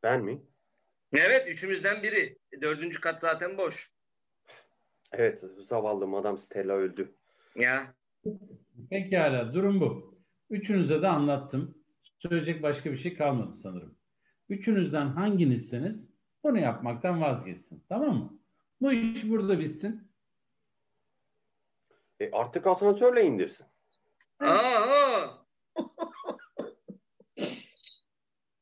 S2: Ben mi?
S4: Evet üçümüzden biri. Dördüncü kat zaten boş.
S2: Evet, zavallı Madam Stella öldü.
S4: Ya
S3: Pekala durum bu. Üçünüze de anlattım. Söyleyecek başka bir şey kalmadı sanırım. Üçünüzden hanginizseniz bunu yapmaktan vazgeçsin. Tamam mı? Bu iş burada bitsin.
S2: E artık asansörle indirsin.
S4: Aa,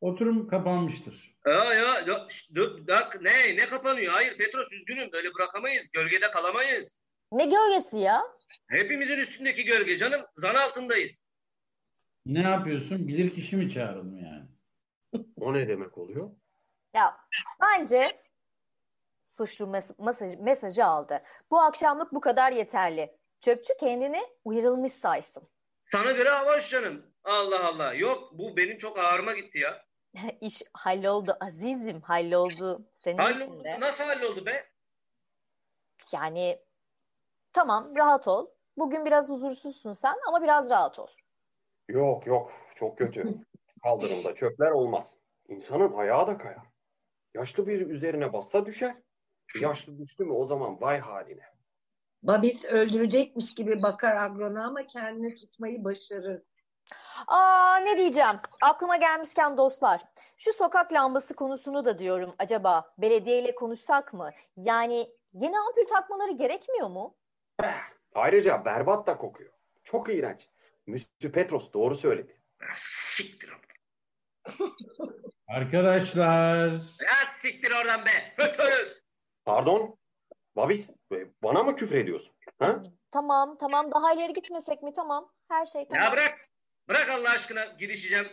S3: Oturum kapanmıştır.
S4: aa ya, ya, şş, dur, bak, ne, ne kapanıyor? Hayır Petros üzgünüm böyle bırakamayız. Gölgede kalamayız.
S5: Ne gölgesi ya?
S4: Hepimizin üstündeki gölge canım. Zan altındayız.
S3: Ne yapıyorsun? Bilir kişi mi çağıralım yani?
S2: O ne demek oluyor?
S5: Ya bence suçlu mes- mesaj- mesajı aldı. Bu akşamlık bu kadar yeterli. Çöpçü kendini uyarılmış saysın.
S4: Sana göre avaş canım. Allah Allah. Yok bu benim çok ağrıma gitti ya.
S5: İş halloldu azizim halloldu senin için
S4: Halloldu.
S5: de.
S4: Nasıl halloldu be?
S5: Yani tamam rahat ol. Bugün biraz huzursuzsun sen ama biraz rahat ol.
S2: Yok yok çok kötü. Kaldırımda çöpler olmaz. İnsanın ayağı da kayar. Yaşlı bir üzerine bassa düşer. Yaşlı düştü mü o zaman vay haline.
S1: Babis öldürecekmiş gibi bakar agrona ama kendini tutmayı başarır.
S5: Aa ne diyeceğim? Aklıma gelmişken dostlar, şu sokak lambası konusunu da diyorum acaba belediyeyle konuşsak mı? Yani yeni ampul takmaları gerekmiyor mu?
S2: Ayrıca berbat da kokuyor. Çok iğrenç. Müslü Petros doğru söyledi.
S4: Ya Siktir oradan.
S3: Arkadaşlar
S4: Ya siktir oradan be. Hötörüz.
S2: Pardon? Babis e, bana mı küfür ediyorsun? Ha?
S5: Tamam, tamam daha ileri gitmesek mi? Tamam, her şey
S4: Ya
S5: tamam.
S4: bırak. Bırak Allah aşkına girişeceğim.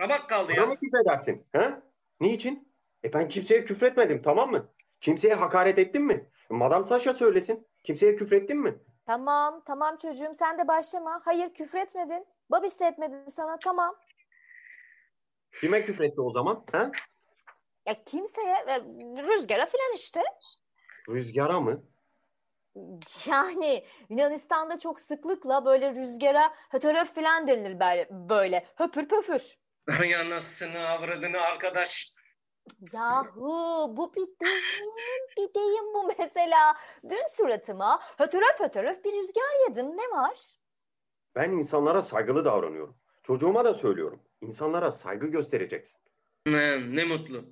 S4: Ramak kaldı
S2: Bana
S4: ya.
S2: mı küfür edersin? Ha? Niçin? E ben kimseye küfretmedim tamam mı? Kimseye hakaret ettim mi? Madam Sasha söylesin. Kimseye küfrettin mi?
S5: Tamam, tamam çocuğum sen de başlama. Hayır küfretmedin, babis de etmedin sana tamam.
S2: Kime küfretti o zaman? Ha?
S5: Ya kimseye ve rüzgara filan işte.
S2: Rüzgara mı?
S5: Yani Yunanistan'da çok sıklıkla böyle rüzgara hötöröf filan denilir böyle, böyle höpür pöfür.
S4: Ay anasını avradını arkadaş.
S5: Yahu bu bir deyim, bir deyim bu mesela. Dün suratıma hötöröf hötöröf bir rüzgar yedim. Ne var?
S2: Ben insanlara saygılı davranıyorum. Çocuğuma da söylüyorum. İnsanlara saygı göstereceksin.
S4: Ne, ne mutlu.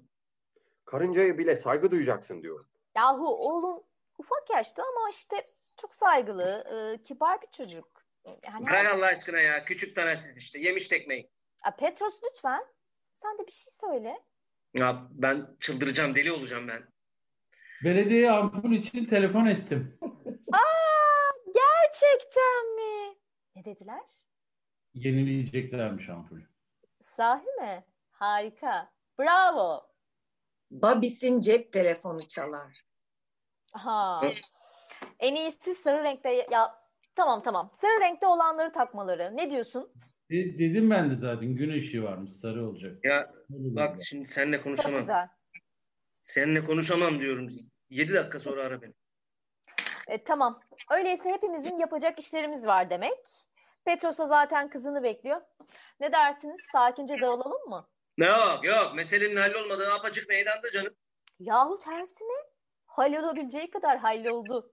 S2: Karıncaya bile saygı duyacaksın diyorum.
S5: Yahu oğlum ufak yaşta ama işte çok saygılı, e, kibar bir çocuk. Yani her-
S4: Bırak Allah aşkına ya. Küçük tanesiz işte. Yemiş tekmeyi.
S5: Ya Petros lütfen sen de bir şey söyle.
S4: Ya ben çıldıracağım. Deli olacağım ben.
S3: belediye ampul için telefon ettim.
S5: Aa, gerçekten mi? Ne dediler?
S3: Yenileyeceklermiş ampulü.
S5: Sahi mi? Harika. Bravo.
S1: Babis'in cep telefonu çalar.
S5: Ha.
S4: Evet.
S5: En iyisi sarı renkte ya tamam tamam. Sarı renkte olanları takmaları. Ne diyorsun?
S3: De- dedim ben de zaten gün ışığı varmış sarı olacak.
S4: Ya
S3: Olur
S4: bak
S3: dedi.
S4: şimdi seninle
S5: Çok
S4: konuşamam.
S5: güzel.
S4: Seninle konuşamam diyorum. 7 dakika sonra ara beni.
S5: E, tamam. Öyleyse hepimizin yapacak işlerimiz var demek. Petros'a zaten kızını bekliyor. Ne dersiniz? Sakince dağılalım mı?
S4: Yok yok. Meselenin hallolmadığı apacık meydanda canım.
S5: Yahu tersine hallolabileceği kadar halloldu.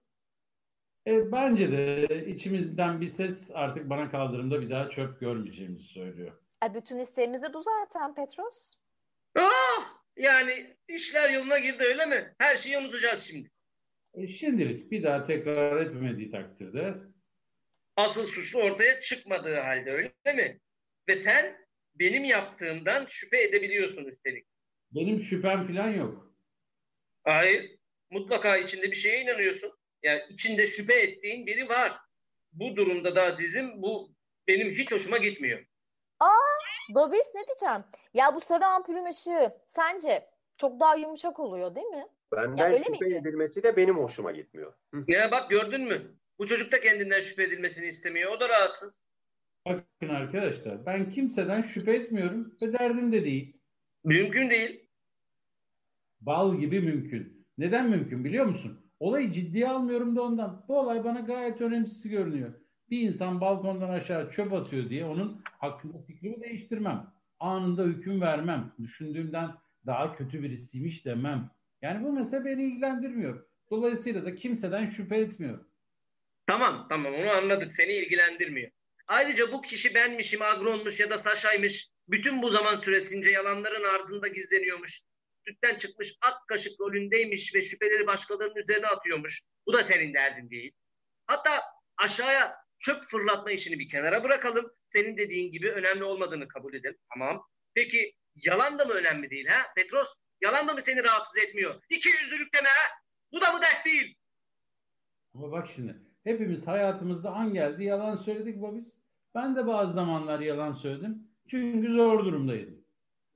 S3: E, bence de içimizden bir ses artık bana kaldırımda bir daha çöp görmeyeceğimizi söylüyor.
S5: E, bütün isteğimiz de bu zaten Petros.
S4: Ah! Yani işler yoluna girdi öyle mi? Her şeyi unutacağız şimdi.
S3: E, şimdilik bir daha tekrar etmediği takdirde
S4: Asıl suçlu ortaya çıkmadığı halde öyle mi? Ve sen benim yaptığımdan şüphe edebiliyorsun üstelik.
S3: benim şüphem falan yok.
S4: Hayır. Mutlaka içinde bir şeye inanıyorsun. Yani içinde şüphe ettiğin biri var. Bu durumda da azizim bu benim hiç hoşuma gitmiyor.
S5: Babis ne diyeceğim? Ya bu sarı ampulün ışığı sence çok daha yumuşak oluyor değil mi? Ya
S2: Benden
S5: öyle
S2: şüphe
S5: miydi?
S2: edilmesi de benim hoşuma gitmiyor. Hı.
S4: Ya bak gördün mü? Bu çocuk da kendinden şüphe edilmesini istemiyor. O da rahatsız.
S3: Bakın arkadaşlar ben kimseden şüphe etmiyorum ve derdim de değil.
S4: Mümkün değil.
S3: Bal gibi mümkün. Neden mümkün biliyor musun? Olayı ciddiye almıyorum da ondan. Bu olay bana gayet önemsiz görünüyor. Bir insan balkondan aşağı çöp atıyor diye onun hakkında fikrimi değiştirmem. Anında hüküm vermem. Düşündüğümden daha kötü birisiymiş demem. Yani bu mesele beni ilgilendirmiyor. Dolayısıyla da kimseden şüphe etmiyorum.
S4: Tamam tamam onu anladık seni ilgilendirmiyor. Ayrıca bu kişi benmişim, agronmuş ya da Saşa'ymış. Bütün bu zaman süresince yalanların ardında gizleniyormuş. Sütten çıkmış ak kaşık rolündeymiş ve şüpheleri başkalarının üzerine atıyormuş. Bu da senin derdin değil. Hatta aşağıya çöp fırlatma işini bir kenara bırakalım. Senin dediğin gibi önemli olmadığını kabul edelim. Tamam. Peki yalan da mı önemli değil ha Petros? Yalan da mı seni rahatsız etmiyor? İki yüzlülük deme ha. Bu da mı dert değil?
S3: Ama bak şimdi hepimiz hayatımızda an geldi yalan söyledik Babis. Ben de bazı zamanlar yalan söyledim. Çünkü zor durumdaydım.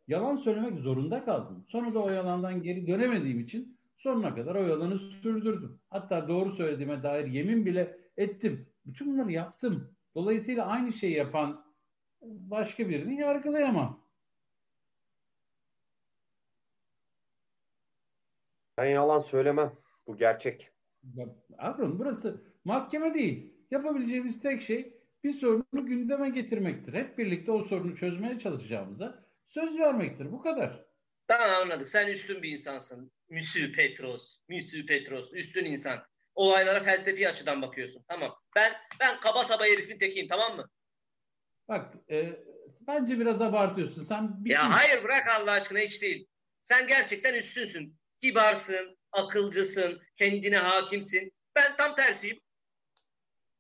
S3: Yalan söylemek zorunda kaldım. Sonra da o yalandan geri dönemediğim için sonuna kadar o yalanı sürdürdüm. Hatta doğru söylediğime dair yemin bile ettim. Bütün bunları yaptım. Dolayısıyla aynı şeyi yapan başka birini yargılayamam.
S2: Ben yalan söylemem. Bu gerçek.
S3: Ya, Avrum burası mahkeme değil. Yapabileceğimiz tek şey bir sorunu gündeme getirmektir. Hep birlikte o sorunu çözmeye çalışacağımıza söz vermektir. Bu kadar.
S4: Tamam anladık. Sen üstün bir insansın. Müsü Petros. Müsü Petros. Üstün insan. Olaylara felsefi açıdan bakıyorsun. Tamam. Ben ben kaba saba herifin tekiyim tamam mı?
S3: Bak e, bence biraz abartıyorsun. Sen bir şey
S4: Ya hayır bırak Allah aşkına hiç değil. Sen gerçekten üstünsün. Kibarsın, akılcısın, kendine hakimsin. Ben tam tersiyim.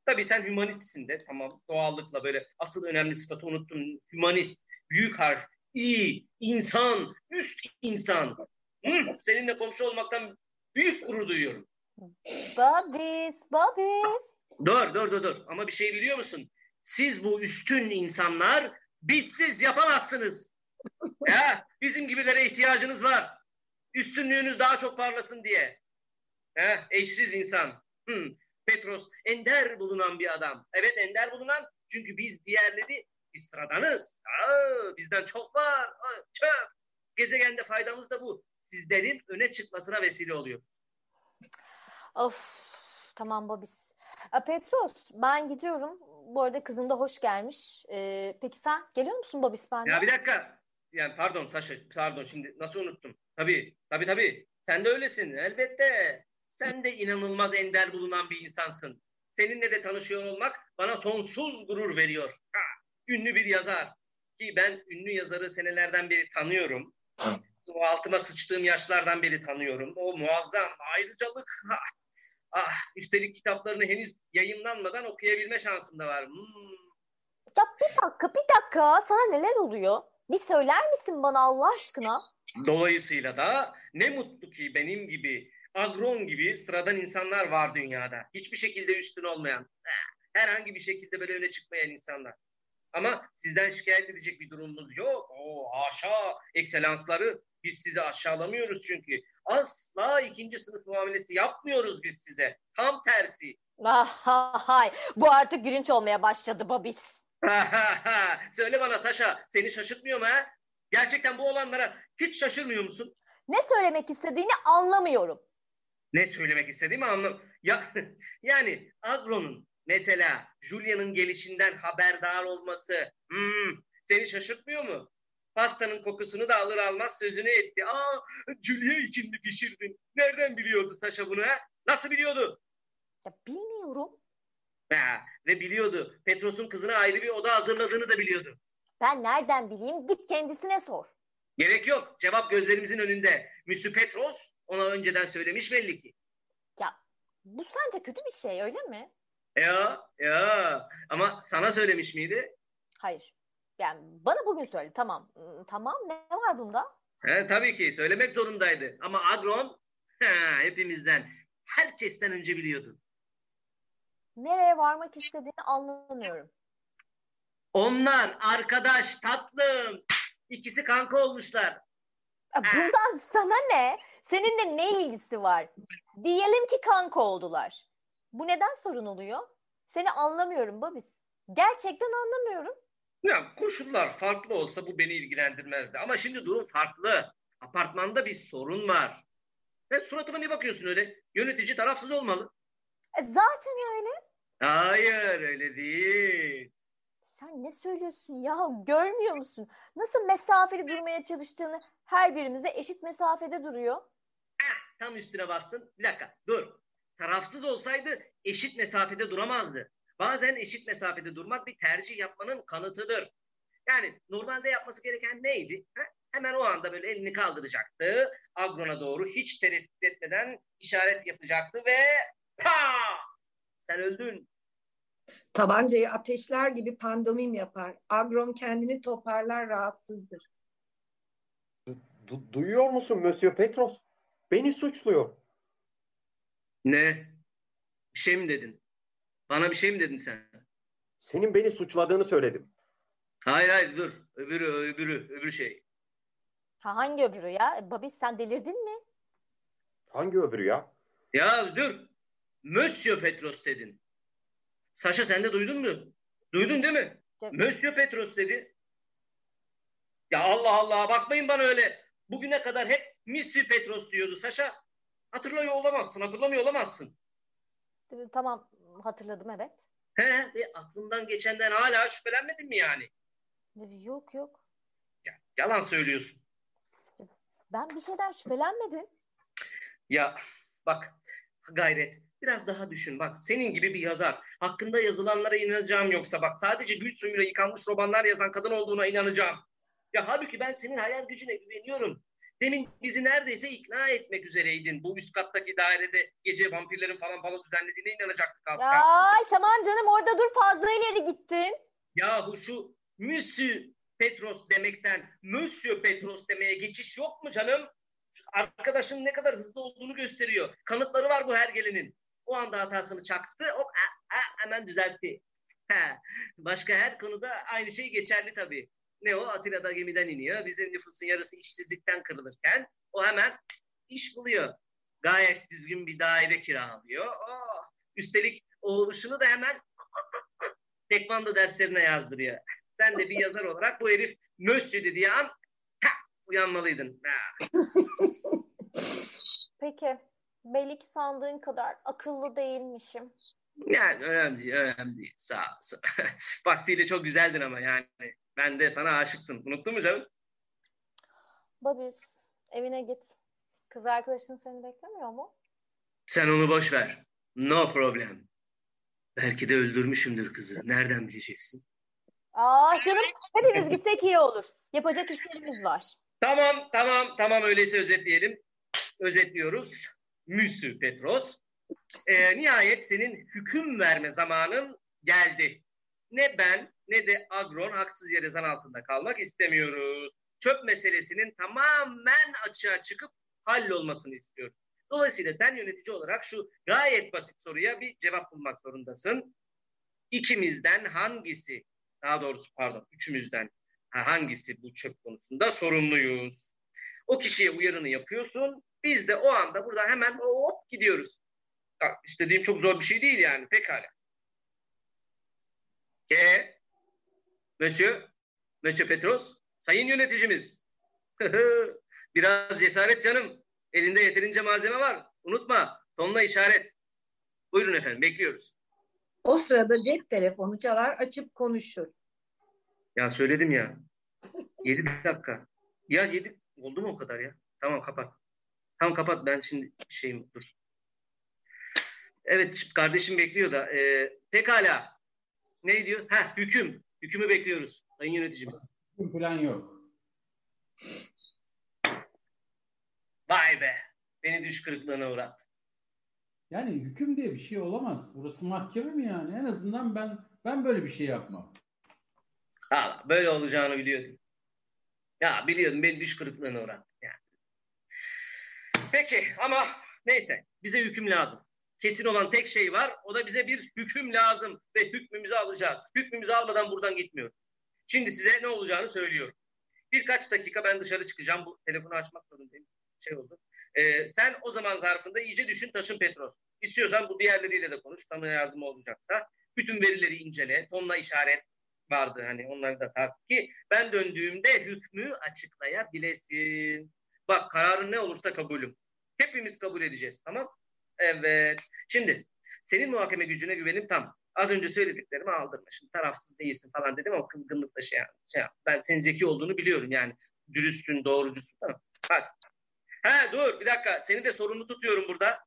S4: Tabii sen hümanistsin de tamam doğallıkla böyle asıl önemli sıfatı unuttum. Hümanist, büyük harf, iyi, insan, üst insan. Hı, seninle komşu olmaktan büyük gurur duyuyorum.
S5: Babis, Babis.
S4: Dur dur dur dur ama bir şey biliyor musun? Siz bu üstün insanlar bizsiz yapamazsınız. ya, bizim gibilere ihtiyacınız var. Üstünlüğünüz daha çok parlasın diye. Ha, eşsiz insan. Hı, Petros ender bulunan bir adam. Evet ender bulunan çünkü biz diğerleri biz sıradanız. Aa, bizden çok var. Aa, çöp. Gezegende faydamız da bu. Sizlerin öne çıkmasına vesile oluyor.
S5: Of, tamam Babis. E, Petros, ben gidiyorum. Bu arada kızın da hoş gelmiş. E, peki sen geliyor musun Babis ben?
S4: Ya bir dakika. Yani pardon Saşa, pardon şimdi nasıl unuttum? Tabii, tabii tabii. Sen de öylesin elbette. Sen de inanılmaz ender bulunan bir insansın. Seninle de tanışıyor olmak bana sonsuz gurur veriyor. Ha, ünlü bir yazar. Ki ben ünlü yazarı senelerden beri tanıyorum. O altıma sıçtığım yaşlardan beri tanıyorum. O muazzam ayrıcalık. Ha. Ah, üstelik kitaplarını henüz yayınlanmadan okuyabilme şansım da var. Hmm.
S5: Ya bir dakika, bir dakika. Sana neler oluyor? Bir söyler misin bana Allah aşkına?
S4: Dolayısıyla da ne mutlu ki benim gibi agron gibi sıradan insanlar var dünyada. Hiçbir şekilde üstün olmayan, herhangi bir şekilde böyle öne çıkmayan insanlar. Ama sizden şikayet edecek bir durumumuz yok. O aşağı ekselansları biz sizi aşağılamıyoruz çünkü. Asla ikinci sınıf muamelesi yapmıyoruz biz size. Tam tersi.
S5: Ah, ha, hay. Bu artık gülünç olmaya başladı Babis.
S4: Söyle bana Saşa seni şaşırtmıyor mu ha? Gerçekten bu olanlara hiç şaşırmıyor musun?
S5: Ne söylemek istediğini anlamıyorum.
S4: ne söylemek istediğimi anlam. Ya yani Agron'un mesela Julia'nın gelişinden haberdar olması hmm, seni şaşırtmıyor mu? Pastanın kokusunu da alır almaz sözünü etti. Aa Julia için mi pişirdin? Nereden biliyordu Saşa bunu ha? Nasıl biliyordu?
S5: Ya bilmiyorum.
S4: Ha, ve biliyordu. Petros'un kızına ayrı bir oda hazırladığını da biliyordu.
S5: Ben nereden bileyim? Git kendisine sor.
S4: Gerek yok. Cevap gözlerimizin önünde. Müsü Petros ona önceden söylemiş belli ki.
S5: Bu sence kötü bir şey öyle mi?
S4: Ya ya ama sana söylemiş miydi?
S5: Hayır. Yani bana bugün söyle tamam. Hmm, Tamam ne var bunda?
S4: He, tabii ki söylemek zorundaydı. Ama Agron he, hepimizden, herkesten önce biliyordu.
S5: Nereye varmak istediğini anlamıyorum.
S4: Onlar arkadaş tatlım. İkisi kanka olmuşlar.
S5: Ya bundan sana ne? Seninle ne ilgisi var? Diyelim ki kanka oldular. Bu neden sorun oluyor? Seni anlamıyorum Babis. Gerçekten anlamıyorum.
S4: Ya koşullar farklı olsa bu beni ilgilendirmezdi. Ama şimdi durum farklı. Apartmanda bir sorun var. Sen suratıma ne bakıyorsun öyle? Yönetici tarafsız olmalı.
S5: E, zaten öyle.
S4: Hayır öyle değil.
S5: Sen ne söylüyorsun ya? Görmüyor musun? Nasıl mesafeli durmaya çalıştığını her birimize eşit mesafede duruyor.
S4: Tam üstüne bastın. Bir dakika dur. Tarafsız olsaydı eşit mesafede duramazdı. Bazen eşit mesafede durmak bir tercih yapmanın kanıtıdır. Yani normalde yapması gereken neydi? Ha? Hemen o anda böyle elini kaldıracaktı. Agrona doğru hiç tereddüt etmeden işaret yapacaktı ve ha! Sen öldün.
S1: Tabancayı ateşler gibi pandomim yapar. Agron kendini toparlar rahatsızdır.
S2: Du- duyuyor musun Monsieur Petros? Beni suçluyor.
S4: Ne? Bir şey mi dedin? Bana bir şey mi dedin sen?
S2: Senin beni suçladığını söyledim.
S4: Hayır hayır dur. Öbürü öbürü öbür şey.
S5: Ha, hangi öbürü ya? Babi sen delirdin mi?
S2: Hangi öbürü ya?
S4: Ya dur. Monsieur Petros dedin. Saşa sen de duydun mu? Duydun değil mi?
S5: Tabii.
S4: Monsieur Petros dedi. Ya Allah Allah bakmayın bana öyle. Bugüne kadar hep Missy Petros diyordu Saşa. Hatırlıyor olamazsın, hatırlamıyor olamazsın.
S5: Tamam hatırladım evet.
S4: He, ve aklından geçenden hala şüphelenmedin mi yani?
S5: Yok yok.
S4: Yalan söylüyorsun.
S5: Ben bir şeyden şüphelenmedim.
S4: Ya bak gayret biraz daha düşün bak senin gibi bir yazar hakkında yazılanlara inanacağım yoksa bak sadece gül suyuyla yıkanmış romanlar yazan kadın olduğuna inanacağım. Ya halbuki ben senin hayal gücüne güveniyorum. Demin bizi neredeyse ikna etmek üzereydin. Bu üst kattaki dairede gece vampirlerin falan falan düzenlediğine inanacaktık az
S5: Ya,
S4: kalsın.
S5: ay tamam canım orada dur fazla ileri gittin.
S4: Yahu şu Monsieur Petros demekten Monsieur Petros demeye geçiş yok mu canım? Şu arkadaşın ne kadar hızlı olduğunu gösteriyor. Kanıtları var bu hergelenin. O anda hatasını çaktı, hop a, a, hemen düzeltti. He. Başka her konuda aynı şey geçerli tabii. Ne o? Atina'da gemiden iniyor. Bizim nüfusun yarısı işsizlikten kırılırken o hemen iş buluyor. Gayet düzgün bir daire kiralıyor. Oo. Üstelik oğluşunu da hemen tekvando derslerine yazdırıyor. Sen de bir yazar olarak bu herif Mösyö dediği an tak, uyanmalıydın. Ha.
S5: Peki belli ki sandığın kadar akıllı değilmişim.
S4: Yani önemli değil, önemli değil. Sağ ol, sağ ol. Vaktiyle çok güzeldin ama yani. Ben de sana aşıktım. Unuttun mu canım?
S5: Babis evine git. Kız arkadaşın seni beklemiyor mu?
S4: Sen onu boş ver. No problem. Belki de öldürmüşümdür kızı. Nereden bileceksin?
S5: Aa canım hepimiz gitsek iyi olur. Yapacak işlerimiz var.
S4: Tamam, tamam, tamam. Öyleyse özetleyelim. Özetliyoruz. Müsü Petros. Ee, nihayet senin hüküm verme zamanın geldi. Ne ben ne de Agron haksız yere zan altında kalmak istemiyoruz. Çöp meselesinin tamamen açığa çıkıp hallolmasını istiyoruz. Dolayısıyla sen yönetici olarak şu gayet basit soruya bir cevap bulmak zorundasın. İkimizden hangisi, daha doğrusu pardon üçümüzden Ha, hangisi bu çöp konusunda sorumluyuz. O kişiye uyarını yapıyorsun. Biz de o anda buradan hemen hop gidiyoruz. Ya, istediğim çok zor bir şey değil yani. Pekala. E, Monsieur, Monsieur Petros, sayın yöneticimiz. Biraz cesaret canım. Elinde yeterince malzeme var. Unutma. Tonla işaret. Buyurun efendim bekliyoruz.
S1: O sırada cep telefonu çalar açıp konuşur.
S4: Ya söyledim ya. 7 dakika. Ya 7 oldu mu o kadar ya? Tamam kapat. Tamam kapat ben şimdi şeyim dur. Evet şimdi kardeşim bekliyor da. e, pekala. Ne diyor? Ha hüküm. Hükümü bekliyoruz. Sayın yöneticimiz.
S3: Bir plan yok.
S4: Vay be. Beni düş kırıklığına uğrat.
S3: Yani hüküm diye bir şey olamaz. Burası mahkeme mi yani? En azından ben ben böyle bir şey yapmam.
S4: Valla böyle olacağını biliyordum. Ya biliyordum beni düş kırıklığına uğrattı yani. Peki ama neyse bize hüküm lazım. Kesin olan tek şey var o da bize bir hüküm lazım ve hükmümüzü alacağız. Hükmümüzü almadan buradan gitmiyoruz. Şimdi size ne olacağını söylüyorum. Birkaç dakika ben dışarı çıkacağım. Bu telefonu açmak zorundayım. Şey oldu. Ee, sen o zaman zarfında iyice düşün taşın Petros. İstiyorsan bu diğerleriyle de konuş. Sana yardım olacaksa. Bütün verileri incele. Tonla işaret vardı hani onları da takip ki ben döndüğümde hükmü açıklayabilesin. Bak kararın ne olursa kabulüm. Hepimiz kabul edeceğiz tamam? Evet. Şimdi senin muhakeme gücüne güvenim tam. Az önce söylediklerimi aldırma. Şimdi tarafsız değilsin falan dedim ama kızgınlıkla şey, yap- şey yap. Ben senin zeki olduğunu biliyorum yani. Dürüstsün, doğrucusun. Tamam. Bak. He dur bir dakika. Seni de sorumlu tutuyorum burada.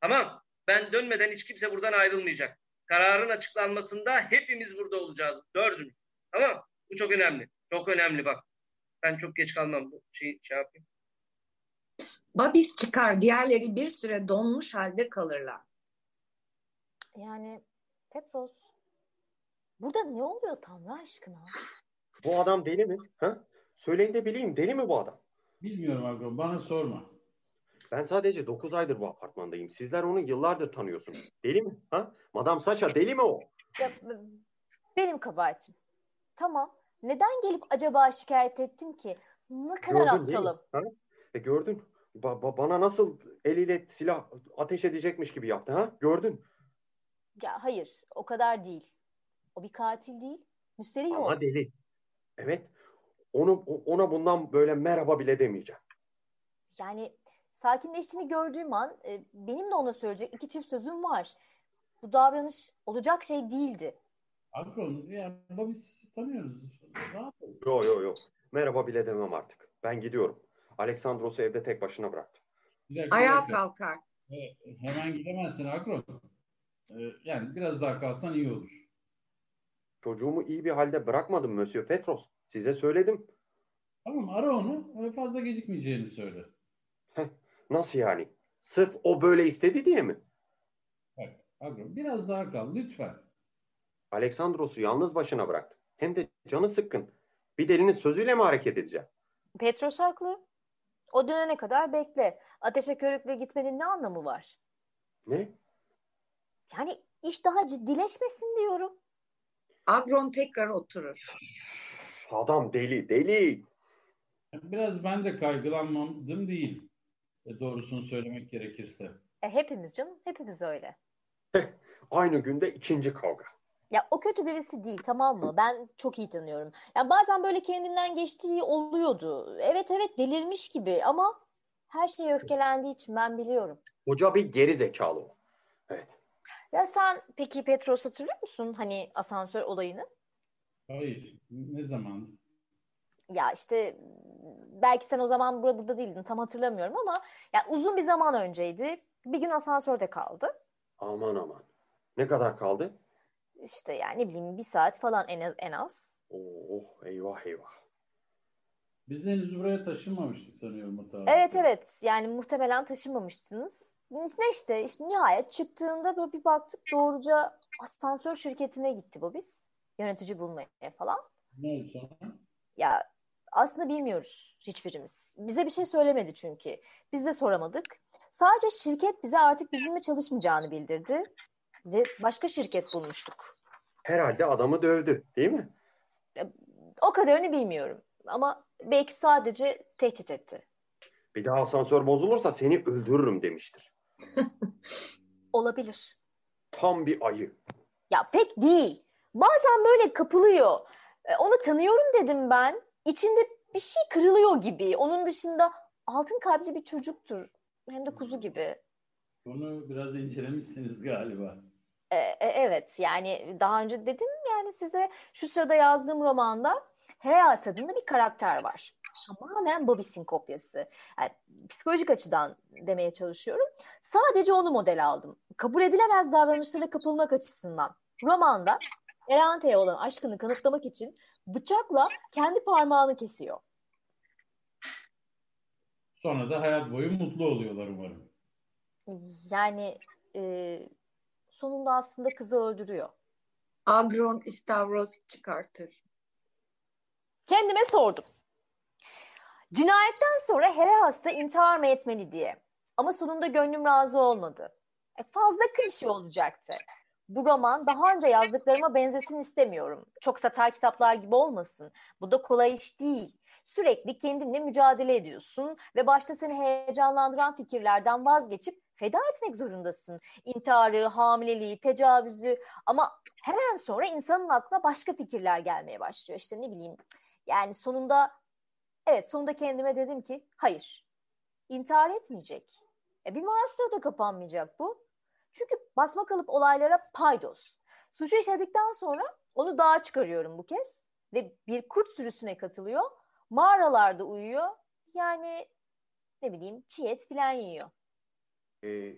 S4: Tamam. Ben dönmeden hiç kimse buradan ayrılmayacak. Kararın açıklanmasında hepimiz burada olacağız. Dördümüz. Tamam mı? Bu çok önemli. Çok önemli bak. Ben çok geç kalmam. Bu şey, şey yapayım.
S1: Babis çıkar. Diğerleri bir süre donmuş halde kalırlar.
S5: Yani Petros. Burada ne oluyor Tanrı aşkına?
S2: Bu adam deli mi? Ha? Söyleyin de bileyim deli mi bu adam?
S3: Bilmiyorum Agro bana sorma.
S2: Ben sadece 9 aydır bu apartmandayım. Sizler onu yıllardır tanıyorsunuz. Deli mi? Ha? Madam Saça deli mi o?
S5: Ya, b- benim kabahatim. Tamam. Neden gelip acaba şikayet ettim ki? Ne kadar
S2: Gördün değil mi?
S5: aptalım.
S2: Ha? E gördün. Ba- ba- bana nasıl eliyle silah ateş edecekmiş gibi yaptı ha? Gördün.
S5: Ya hayır, o kadar değil. O bir katil değil. Müsterih o.
S2: Ama deli. Evet. Onu o- ona bundan böyle merhaba bile demeyeceğim.
S5: Yani sakinleştiğini gördüğüm an e, benim de ona söyleyecek iki çift sözüm var. Bu davranış olacak şey değildi.
S3: Agro yani Babis'i tanıyoruz. Rahat ol.
S2: Yo yo yo. Merhaba bile demem artık. Ben gidiyorum. Aleksandros'u evde tek başına bıraktım.
S3: Bir dakika, bir
S1: Ayağa
S3: dakika.
S1: kalkar.
S3: Evet, Hemen gidemezsin Agro. Ee, yani biraz daha kalsan iyi olur.
S2: Çocuğumu iyi bir halde bırakmadım Monsieur Petros. Size söyledim.
S3: Tamam ara onu. Ee, Fazla gecikmeyeceğini söyle.
S2: Nasıl yani? Sırf o böyle istedi diye mi?
S3: Agro biraz daha kal lütfen.
S2: Aleksandros'u yalnız başına bıraktım. Hem de canı sıkkın. Bir delinin sözüyle mi hareket edeceğiz?
S5: Petros haklı. O dönene kadar bekle. Ateşe körükle gitmenin ne anlamı var?
S2: Ne?
S5: Yani iş daha ciddileşmesin diyorum.
S1: Agron tekrar oturur.
S2: Adam deli, deli.
S3: Biraz ben de kaygılanmadım değil. E, doğrusunu söylemek gerekirse.
S5: E, hepimiz canım, hepimiz öyle.
S2: Aynı günde ikinci kavga.
S5: Ya o kötü birisi değil tamam mı? Ben çok iyi tanıyorum. Ya bazen böyle kendinden geçtiği oluyordu. Evet evet delirmiş gibi ama her şeye öfkelendiği için ben biliyorum.
S2: Hoca bir geri zekalı o.
S5: Ya sen peki Petros hatırlıyor musun hani asansör olayını?
S3: Hayır. Ne zaman?
S5: Ya işte belki sen o zaman burada, burada değildin tam hatırlamıyorum ama ya uzun bir zaman önceydi. Bir gün asansörde kaldı.
S2: Aman aman. Ne kadar kaldı?
S5: İşte yani ne bileyim bir saat falan en az. En az.
S2: Oh eyvah eyvah.
S3: Biz henüz buraya taşınmamıştık sanıyorum o tarihte.
S5: Evet evet yani muhtemelen taşınmamıştınız. Ne işte, işte nihayet çıktığında böyle bir baktık doğruca asansör şirketine gitti bu biz. Yönetici bulmaya falan.
S3: Ne oldu sonra?
S5: Ya aslında bilmiyoruz hiçbirimiz. Bize bir şey söylemedi çünkü. Biz de soramadık. Sadece şirket bize artık bizimle çalışmayacağını bildirdi. Ve başka şirket bulmuştuk.
S2: Herhalde adamı dövdü değil mi?
S5: O kadarını bilmiyorum. Ama belki sadece tehdit etti.
S2: Bir daha asansör bozulursa seni öldürürüm demiştir.
S5: Olabilir.
S2: Tam bir ayı.
S5: Ya pek değil. Bazen böyle kapılıyor. E, Onu tanıyorum dedim ben. İçinde bir şey kırılıyor gibi. Onun dışında altın kalpli bir çocuktur. Hem de kuzu gibi.
S3: Bunu biraz incelemişsiniz galiba.
S5: E, e, evet yani daha önce dedim yani size şu sırada yazdığım romanda Heyas adında bir karakter var. Tamamen Bobis'in kopyası. Yani psikolojik açıdan demeye çalışıyorum. Sadece onu model aldım. Kabul edilemez davranışlara kapılmak açısından. Romanda Erante'ye olan aşkını kanıtlamak için bıçakla kendi parmağını kesiyor.
S3: Sonra da hayat boyu mutlu oluyorlar umarım.
S5: Yani e, sonunda aslında kızı öldürüyor.
S1: Agron istavros çıkartır.
S5: Kendime sordum. Cinayetten sonra Here hasta intihar mı etmeli diye. Ama sonunda gönlüm razı olmadı. E, fazla klişe olacaktı. Bu roman daha önce yazdıklarıma benzesin istemiyorum. Çok satar kitaplar gibi olmasın. Bu da kolay iş değil. Sürekli kendinle mücadele ediyorsun ve başta seni heyecanlandıran fikirlerden vazgeçip feda etmek zorundasın. İntiharı, hamileliği, tecavüzü ama hemen sonra insanın aklına başka fikirler gelmeye başlıyor. İşte ne bileyim yani sonunda evet sonunda kendime dedim ki hayır intihar etmeyecek. E bir mahsura da kapanmayacak bu. Çünkü basma kalıp olaylara paydos. Suçu işledikten sonra onu dağa çıkarıyorum bu kez ve bir kurt sürüsüne katılıyor. Mağaralarda uyuyor. Yani ne bileyim çiğ et filan yiyor.
S2: Ee,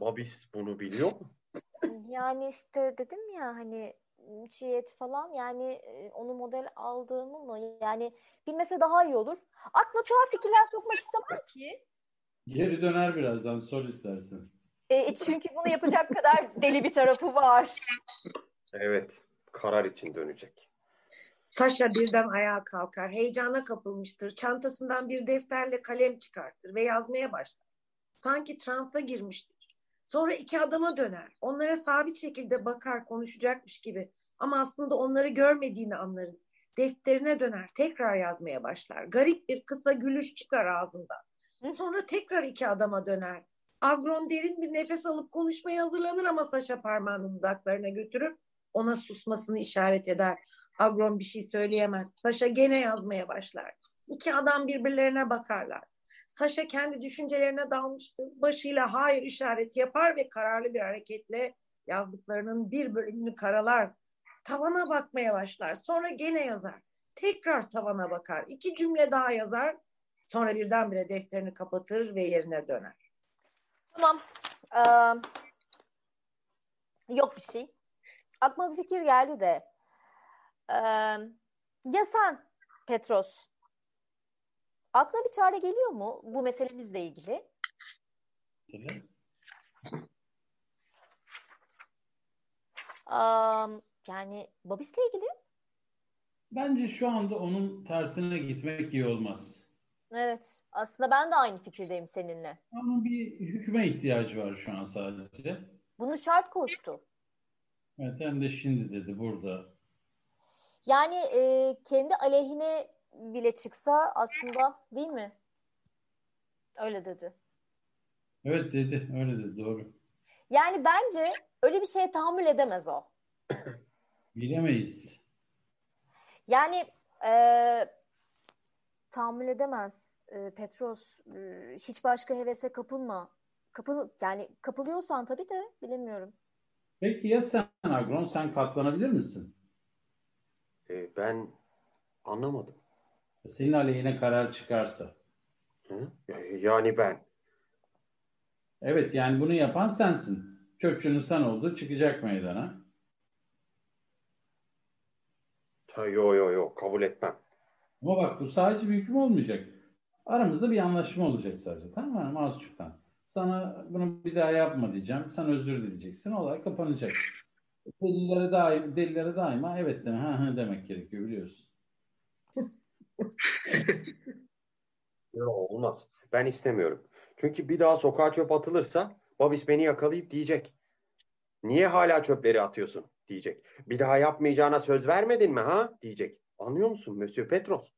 S2: Babis bunu biliyor mu?
S5: Yani işte dedim ya hani çiğ et falan yani e, onu model aldığımı mı yani bilmese daha iyi olur. Aklıma tuhaf fikirler sokmak istemem ki.
S3: Geri döner birazdan sor istersen.
S5: E, çünkü bunu yapacak kadar deli bir tarafı var.
S2: Evet. Karar için dönecek.
S1: Saşa birden ayağa kalkar. Heyecana kapılmıştır. Çantasından bir defterle kalem çıkartır ve yazmaya başlar. Sanki transa girmiştir. Sonra iki adama döner. Onlara sabit şekilde bakar konuşacakmış gibi. Ama aslında onları görmediğini anlarız. Defterine döner. Tekrar yazmaya başlar. Garip bir kısa gülüş çıkar ağzından. Sonra tekrar iki adama döner. Agron derin bir nefes alıp konuşmaya hazırlanır ama Saşa parmağını dudaklarına götürüp ona susmasını işaret eder. Agron bir şey söyleyemez. Saşa gene yazmaya başlar. İki adam birbirlerine bakarlar. Saşa kendi düşüncelerine dalmıştır. Başıyla hayır işareti yapar ve kararlı bir hareketle yazdıklarının bir bölümünü karalar. Tavana bakmaya başlar. Sonra gene yazar. Tekrar tavana bakar. İki cümle daha yazar. Sonra birdenbire defterini kapatır ve yerine döner.
S5: Tamam. Ee, yok bir şey. Aklıma bir fikir geldi de. Ee, ya sen Petros? Aklına bir çare geliyor mu bu meselemizle ilgili? Am, yani Babis'le ilgili?
S3: Bence şu anda onun tersine gitmek iyi olmaz.
S5: Evet. Aslında ben de aynı fikirdeyim seninle.
S3: Ama bir hüküme ihtiyacı var şu an sadece.
S5: Bunu şart koştu.
S3: Evet, hem de şimdi dedi burada.
S5: Yani e, kendi aleyhine bile çıksa aslında değil mi? Öyle dedi.
S3: Evet dedi, öyle dedi doğru.
S5: Yani bence öyle bir şeye tahammül edemez o.
S3: Bilemeyiz.
S5: Yani e, tahammül edemez e, Petros. E, hiç başka hevese kapılma. Kapıl, yani kapılıyorsan tabii de bilemiyorum.
S3: Peki ya sen Agron, sen katlanabilir misin?
S2: E, ben anlamadım.
S3: Senin aleyhine karar çıkarsa.
S2: Hı? E, Yani ben.
S3: Evet yani bunu yapan sensin. Çöpçünün sen oldu, çıkacak meydana.
S2: Ta, yo yo yo kabul etmem.
S3: Ama bak bu sadece bir hüküm olmayacak. Aramızda bir anlaşma olacak sadece. Tamam mı? hanım? Azıcıktan. Sana bunu bir daha yapma diyeceğim. Sen özür dileyeceksin. Olay kapanacak. Delilere daim, delilere daima evet deme, ha, ha demek gerekiyor biliyorsun.
S2: Yo, olmaz. Ben istemiyorum. Çünkü bir daha sokağa çöp atılırsa Babis beni yakalayıp diyecek. Niye hala çöpleri atıyorsun diyecek. Bir daha yapmayacağına söz vermedin mi ha diyecek. Anlıyor musun Monsieur Petros?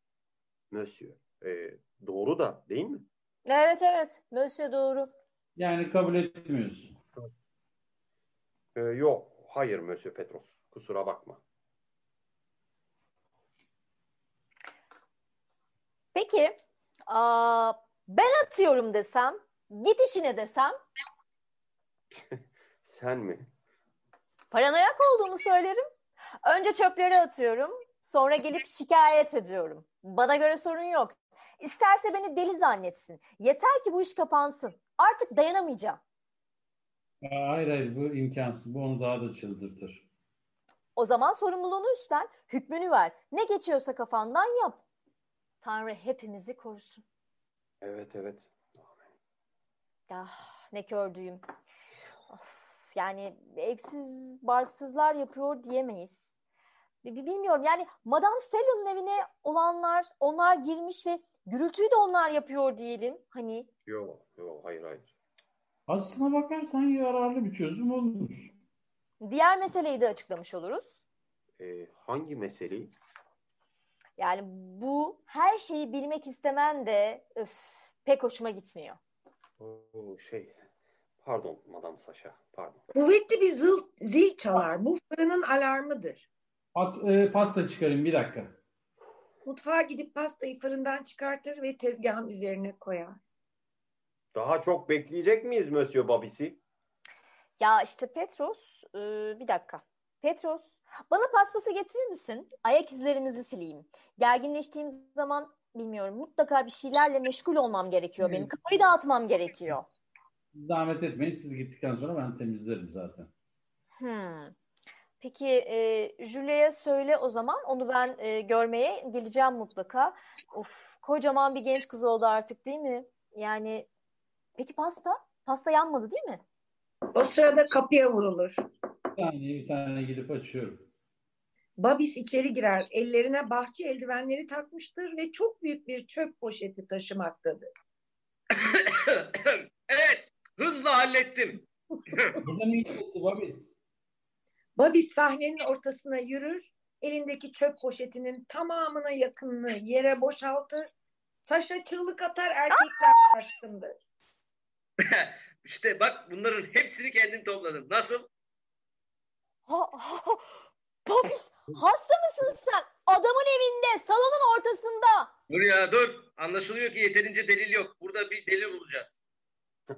S2: Monsieur. E, doğru da değil mi?
S5: Evet evet. Mösyö doğru.
S3: Yani kabul etmiyorsun.
S2: E, yok. Hayır Monsieur Petros. Kusura bakma.
S5: Peki aa, ben atıyorum desem, git işine desem
S2: Sen mi?
S5: paranoyak olduğumu söylerim. Önce çöpleri atıyorum, sonra gelip şikayet ediyorum. Bana göre sorun yok. İsterse beni deli zannetsin. Yeter ki bu iş kapansın. Artık dayanamayacağım.
S3: Aa, Hayır hayır bu imkansız. Bu onu daha da çıldırtır.
S5: O zaman sorumluluğunu üstlen, hükmünü ver. Ne geçiyorsa kafandan yap. Tanrı hepimizi korusun.
S2: Evet evet.
S5: Ah, ne kördüğüm. Of, yani evsiz barksızlar yapıyor diyemeyiz. Bi- bi- Bilmiyorum yani Madame Stella'nın evine olanlar, onlar girmiş ve gürültüyü de onlar yapıyor diyelim. Hani
S2: Yok yok hayır hayır.
S3: Aslına bakarsan yararlı bir çözüm olur.
S5: diğer meseleyi de açıklamış oluruz.
S2: E, hangi meseleyi?
S5: Yani bu her şeyi bilmek istemen de öf, pek hoşuma gitmiyor.
S2: Oo, şey pardon Madam Saşa pardon.
S1: Kuvvetli bir zil, zil çalar. Bu fırının alarmıdır.
S3: At, e, pasta çıkarayım bir dakika.
S1: Mutfağa gidip pastayı fırından çıkartır ve tezgahın üzerine koyar.
S2: Daha çok bekleyecek miyiz Monsieur Babisi?
S5: Ya işte Petros, e, bir dakika. Petros, bana paspası getirir misin? Ayak izlerimizi sileyim. Gerginleştiğim zaman bilmiyorum mutlaka bir şeylerle meşgul olmam gerekiyor benim. Kafayı dağıtmam gerekiyor.
S3: Zahmet etmeyin siz gittikten sonra ben temizlerim zaten.
S5: Hmm. Peki e, Julia'ya söyle o zaman. Onu ben e, görmeye geleceğim mutlaka. Of, kocaman bir genç kız oldu artık değil mi? Yani peki pasta? Pasta yanmadı değil mi?
S1: O sırada kapıya vurulur.
S3: Bir saniye bir saniye gidip açıyorum.
S1: Babis içeri girer. Ellerine bahçe eldivenleri takmıştır ve çok büyük bir çöp poşeti taşımaktadır.
S4: evet, hızla hallettim.
S3: Burada ne işlesi Babis?
S1: Babis sahnenin ortasına yürür. Elindeki çöp poşetinin tamamına yakınını yere boşaltır. Saşa çığlık atar erkekler karşısında.
S4: işte bak bunların hepsini kendim topladım. Nasıl?
S5: Ha, ha, Papis hasta mısın sen? Adamın evinde, salonun ortasında.
S4: Dur ya dur. Anlaşılıyor ki yeterince delil yok. Burada bir delil bulacağız.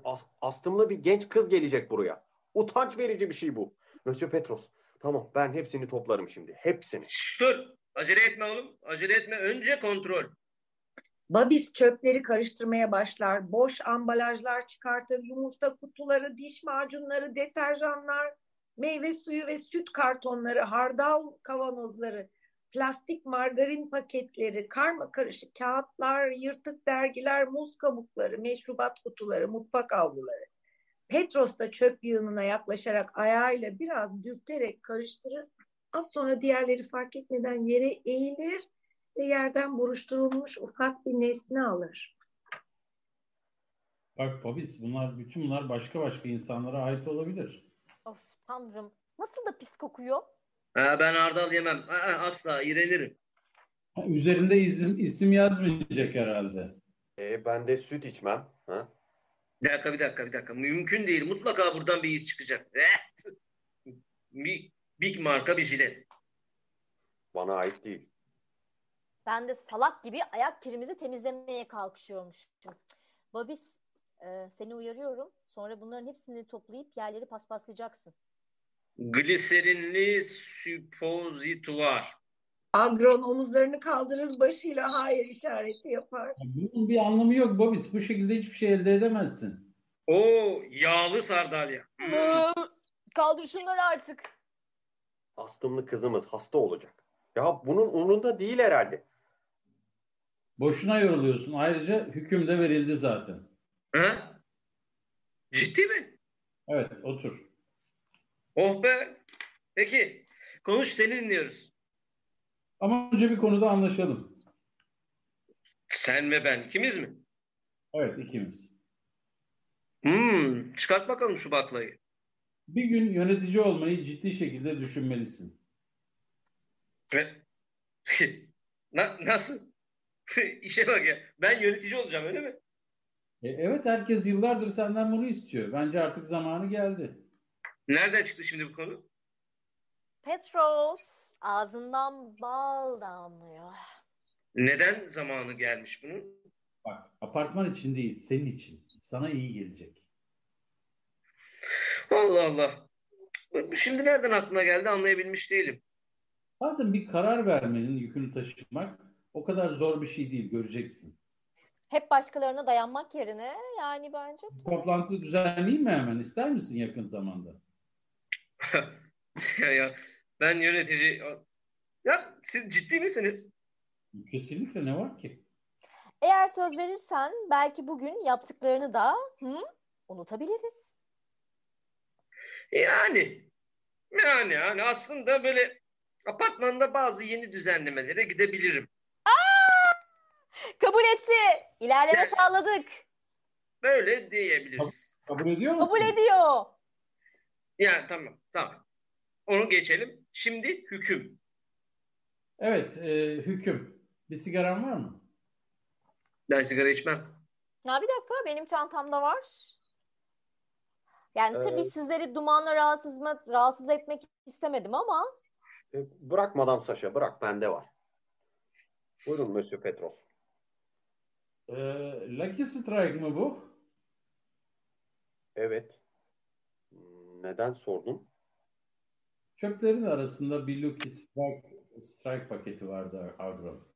S2: As- astımlı bir genç kız gelecek buraya. Utanç verici bir şey bu. Mösyö Petros. Tamam ben hepsini toplarım şimdi. Hepsini.
S4: Şşş, dur. Acele etme oğlum. Acele etme. Önce kontrol.
S1: Babis çöpleri karıştırmaya başlar. Boş ambalajlar çıkartır. Yumurta kutuları, diş macunları, deterjanlar, meyve suyu ve süt kartonları, hardal kavanozları, plastik margarin paketleri, karma karışık kağıtlar, yırtık dergiler, muz kabukları, meşrubat kutuları, mutfak avluları. Petros da çöp yığınına yaklaşarak ayağıyla biraz dürterek karıştırır. Az sonra diğerleri fark etmeden yere eğilir ve yerden buruşturulmuş ufak bir nesne alır.
S3: Bak Babis bunlar bütün bunlar başka başka insanlara ait olabilir.
S5: Of tanrım. Nasıl da pis kokuyor?
S4: Ha, ben hardal yemem. Ha, ha, asla iğrenirim.
S3: Ha, Üzerinde isim, isim yazmayacak herhalde.
S2: E, ben de süt içmem. Ha?
S4: Bir dakika bir dakika bir dakika. Mümkün değil. Mutlaka buradan bir iz çıkacak. Eh! Bir, big marka bir jilet.
S2: Bana ait değil.
S5: Ben de salak gibi ayak kirimizi temizlemeye kalkışıyormuşum. Babis, e, seni uyarıyorum. Sonra bunların hepsini toplayıp yerleri paspaslayacaksın.
S4: Gliserinli süpozituar.
S1: Agron omuzlarını kaldırır, başıyla hayır işareti yapar.
S3: Ya Bunun bir anlamı yok Babis. Bu şekilde hiçbir şey elde edemezsin.
S4: O yağlı sardalya.
S5: Kaldır şunları artık.
S2: Astımlı kızımız hasta olacak. Ya bunun umrunda değil herhalde.
S3: Boşuna yoruluyorsun. Ayrıca hüküm de verildi zaten.
S4: Ha? Ciddi mi?
S3: Evet otur.
S4: Oh be. Peki. Konuş seni dinliyoruz.
S3: Ama önce bir konuda anlaşalım.
S4: Sen ve ben ikimiz mi?
S3: Evet ikimiz.
S4: Hmm, çıkart bakalım şu baklayı.
S3: Bir gün yönetici olmayı ciddi şekilde düşünmelisin.
S4: Ve- Na- nasıl? İşe bak ya. Ben yönetici olacağım öyle mi?
S3: E, evet herkes yıllardır senden bunu istiyor. Bence artık zamanı geldi.
S4: Nereden çıktı şimdi bu konu?
S5: Petros, ağzından bal damlıyor.
S4: Neden zamanı gelmiş bunun?
S3: Bak apartman için değil senin için. Sana iyi gelecek.
S4: Allah Allah. Bu Şimdi nereden aklına geldi anlayabilmiş değilim.
S3: Zaten bir karar vermenin yükünü taşımak o kadar zor bir şey değil göreceksin.
S5: Hep başkalarına dayanmak yerine yani bence
S3: Toplantı düzenleyeyim mi hemen? İster misin yakın zamanda?
S4: ya, ya, ben yönetici... Ya siz ciddi misiniz?
S3: Kesinlikle ne var ki?
S5: Eğer söz verirsen belki bugün yaptıklarını da hı, unutabiliriz.
S4: Yani yani yani aslında böyle apartmanda bazı yeni düzenlemelere gidebilirim.
S5: Kabul etti. İlerleme sağladık.
S4: Böyle diyebiliriz.
S3: Kabul ediyor musun?
S5: Kabul ediyor.
S4: Yani tamam tamam. Onu geçelim. Şimdi hüküm.
S3: Evet e, hüküm. Bir sigaran var mı?
S4: Ben sigara içmem.
S5: Ya bir dakika benim çantamda var. Yani tabii
S2: Ee,
S5: sizleri dumanla rahatsız, mı- rahatsız etmek istemedim ama
S2: E, bırak Madame Saşa bırak bende var. Buyurun Mösyö Petros.
S3: E, Lucky Strike mı bu?
S2: Evet. Neden sordun?
S3: Çöplerin arasında bir Lucky Strike, Strike paketi vardı Agron.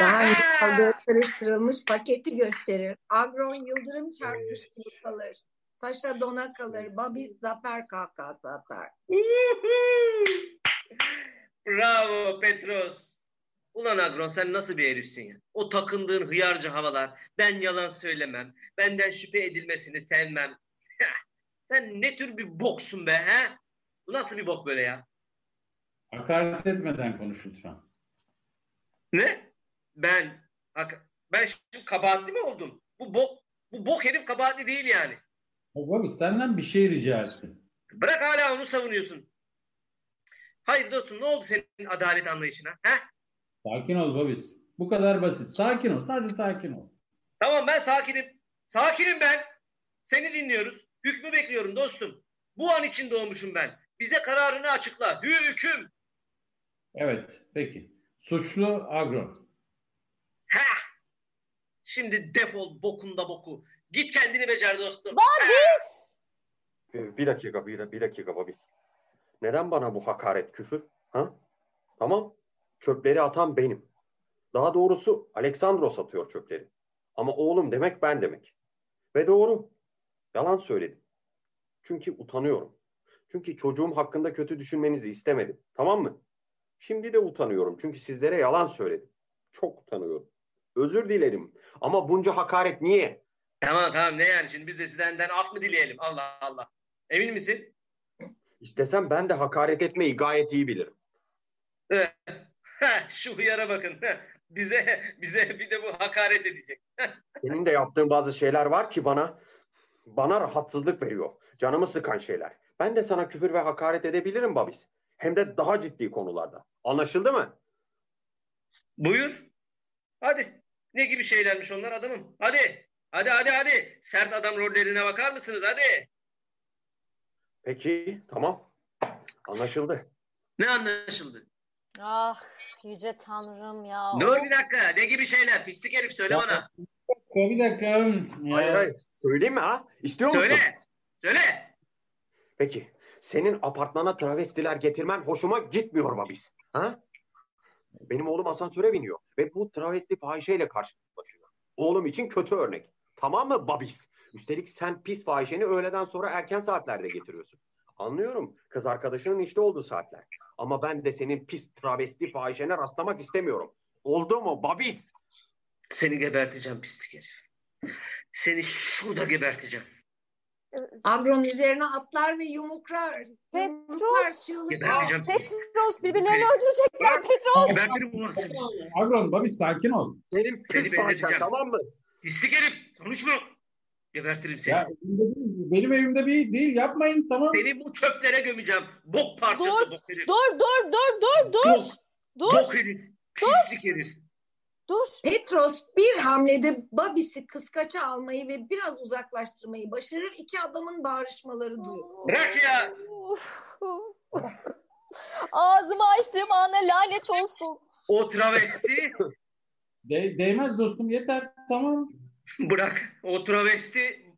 S1: Daha önce aldığı karıştırılmış paketi gösterir. Agron yıldırım çarpmış alır. Saşa dona kalır, Babiz zafer kahkahası atar.
S4: Bravo Petros. Ulan Agron sen nasıl bir herifsin ya? O takındığın hıyarcı havalar. Ben yalan söylemem. Benden şüphe edilmesini sevmem. sen ne tür bir boksun be he? Bu nasıl bir bok böyle ya?
S3: Hakaret etmeden konuş lütfen.
S4: Ne? Ben hak- ben şimdi kabahatli mi oldum? Bu bok bu bok herif kabahatli değil yani.
S3: Abi senden bir şey rica ettim.
S4: Bırak hala onu savunuyorsun. Hayır dostum ne oldu senin adalet anlayışına? He?
S3: Sakin ol Babis. Bu kadar basit. Sakin ol. Sadece sakin ol.
S4: Tamam ben sakinim. Sakinim ben. Seni dinliyoruz. Hükmü bekliyorum dostum. Bu an için doğmuşum ben. Bize kararını açıkla. Hüküm.
S3: Evet. Peki. Suçlu Agro.
S4: Ha. Şimdi defol bokunda boku. Git kendini becer dostum.
S5: Babis!
S2: Ee, Bir dakika, bir, bir dakika Babis. Neden bana bu hakaret küfür? Ha? Tamam, çöpleri atan benim. Daha doğrusu Aleksandros atıyor çöpleri. Ama oğlum demek ben demek. Ve doğru. Yalan söyledim. Çünkü utanıyorum. Çünkü çocuğum hakkında kötü düşünmenizi istemedim. Tamam mı? Şimdi de utanıyorum. Çünkü sizlere yalan söyledim. Çok utanıyorum. Özür dilerim. Ama bunca hakaret niye?
S4: Tamam tamam ne yani şimdi biz de sizden af mı dileyelim? Allah Allah. Emin misin?
S2: İstesem ben de hakaret etmeyi gayet iyi bilirim.
S4: Ha, şu hıyara bakın. Ha, bize bize bir de bu hakaret edecek.
S2: Senin de yaptığın bazı şeyler var ki bana bana rahatsızlık veriyor. Canımı sıkan şeyler. Ben de sana küfür ve hakaret edebilirim Babis. Hem de daha ciddi konularda. Anlaşıldı mı?
S4: Buyur. Hadi. Ne gibi şeylermiş onlar adamım. Hadi. Hadi hadi hadi. Sert adam rollerine bakar mısınız? Hadi.
S2: Peki, tamam. Anlaşıldı.
S4: Ne anlaşıldı?
S5: Ah yüce tanrım ya.
S4: Ne o bir dakika? Ne gibi şeyler? Pislik herif söyle
S3: Ya,
S4: bana.
S3: Bir dakika. Ya,
S2: Hayır hayır. Söyleyeyim mi ha? İstiyor musun?
S4: Söyle. Söyle.
S2: Peki. Senin apartmana travestiler getirmen hoşuma gitmiyor Babis. Ha? Benim oğlum asansöre biniyor ve bu travesti fahişeyle karşılaşıyor. Oğlum için kötü örnek. Tamam mı Babis? Üstelik sen pis fahişeni öğleden sonra erken saatlerde getiriyorsun. Anlıyorum kız arkadaşının işte olduğu saatler. Ama ben de senin pis travesti fahişene rastlamak istemiyorum. Oldu mu Babis?
S4: Seni geberteceğim pislik herif. Seni şurada geberteceğim.
S1: Agron üzerine atlar ve yumruklar.
S5: Petros!
S1: Yumruklar, çığlıklar.
S4: Geberteceğim. pislik.
S5: Petros birbirlerini öldürecekler Petros.
S4: Gebertirim ulan seni.
S3: Agro Babis sakin ol.
S2: Benim
S4: Seni
S2: pis fahişen
S4: benzeteceğim.
S2: tamam mı?
S4: Pislik herif. Konuşma. Gebertirim seni.
S3: Ya, evimde değil, benim evimde bir değil. Yapmayın tamam.
S4: Seni bu çöplere gömeceğim. Bok parçası
S5: Dur,
S4: bok herif.
S5: Dur dur dur dur dur.
S4: Yok.
S5: Dur
S4: Bok herif. Pislik herif.
S5: dur.
S1: Petros bir hamlede Babis'i kıskaça almayı ve biraz uzaklaştırmayı başarır. İki adamın bağrışmaları duyulur.
S4: Bırak ya.
S5: Of. Ağzımı açtığım ana lanet olsun.
S4: O travesti
S3: De- değmez dostum yeter. Tamam.
S4: bırak. O travesti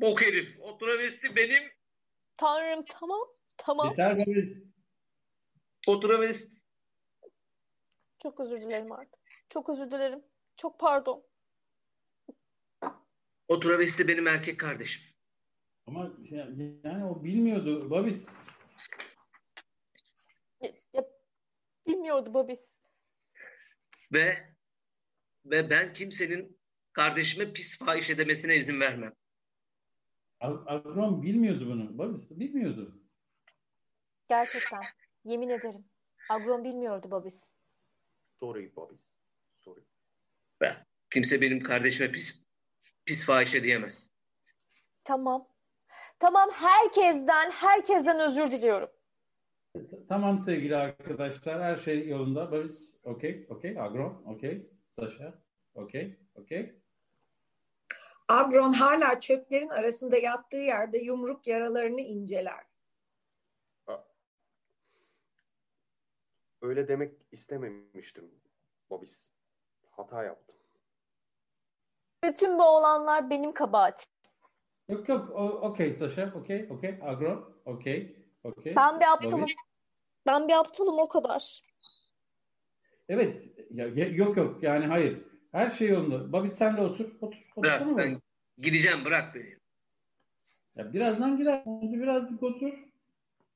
S4: bok herif. O travesti benim.
S5: Tanrım tamam tamam.
S3: Yeter Babis.
S4: O travesti.
S5: Çok özür dilerim artık. Çok özür dilerim. Çok pardon.
S4: O travesti benim erkek kardeşim.
S3: Ama ya- yani o bilmiyordu Babis.
S5: Bilmiyordu Babis.
S4: Ve ve ben kimsenin kardeşime pis fahişe demesine izin vermem.
S3: Ag- Agron bilmiyordu bunu. Babis bilmiyordu.
S5: Gerçekten. Yemin ederim. Agron bilmiyordu Babis.
S2: Sorry Babis. Sorry.
S4: Kimse benim kardeşime pis pis fahişe diyemez.
S5: Tamam. Tamam herkesten, herkesten özür diliyorum.
S3: Tamam sevgili arkadaşlar her şey yolunda. Babis okey okey. Agron okey. Saşa okey okey.
S1: Agron hala çöplerin arasında yattığı yerde yumruk yaralarını inceler.
S2: Öyle demek istememiştim Babis. Hata yaptım.
S5: Bütün bu olanlar benim kabahatim.
S3: Yok yok o- okey Saşa okey okey. Agron okey okey.
S5: Ben bir aptalım.
S3: Babis.
S5: Ben bir aptalım o kadar.
S3: Evet. Ya, ya- yok yok yani hayır. Her şey yolunda. Babis sen de otur. Otur. otur
S4: Bırak ben gideceğim bırak beni.
S3: Ya birazdan gider. Hadi birazcık otur.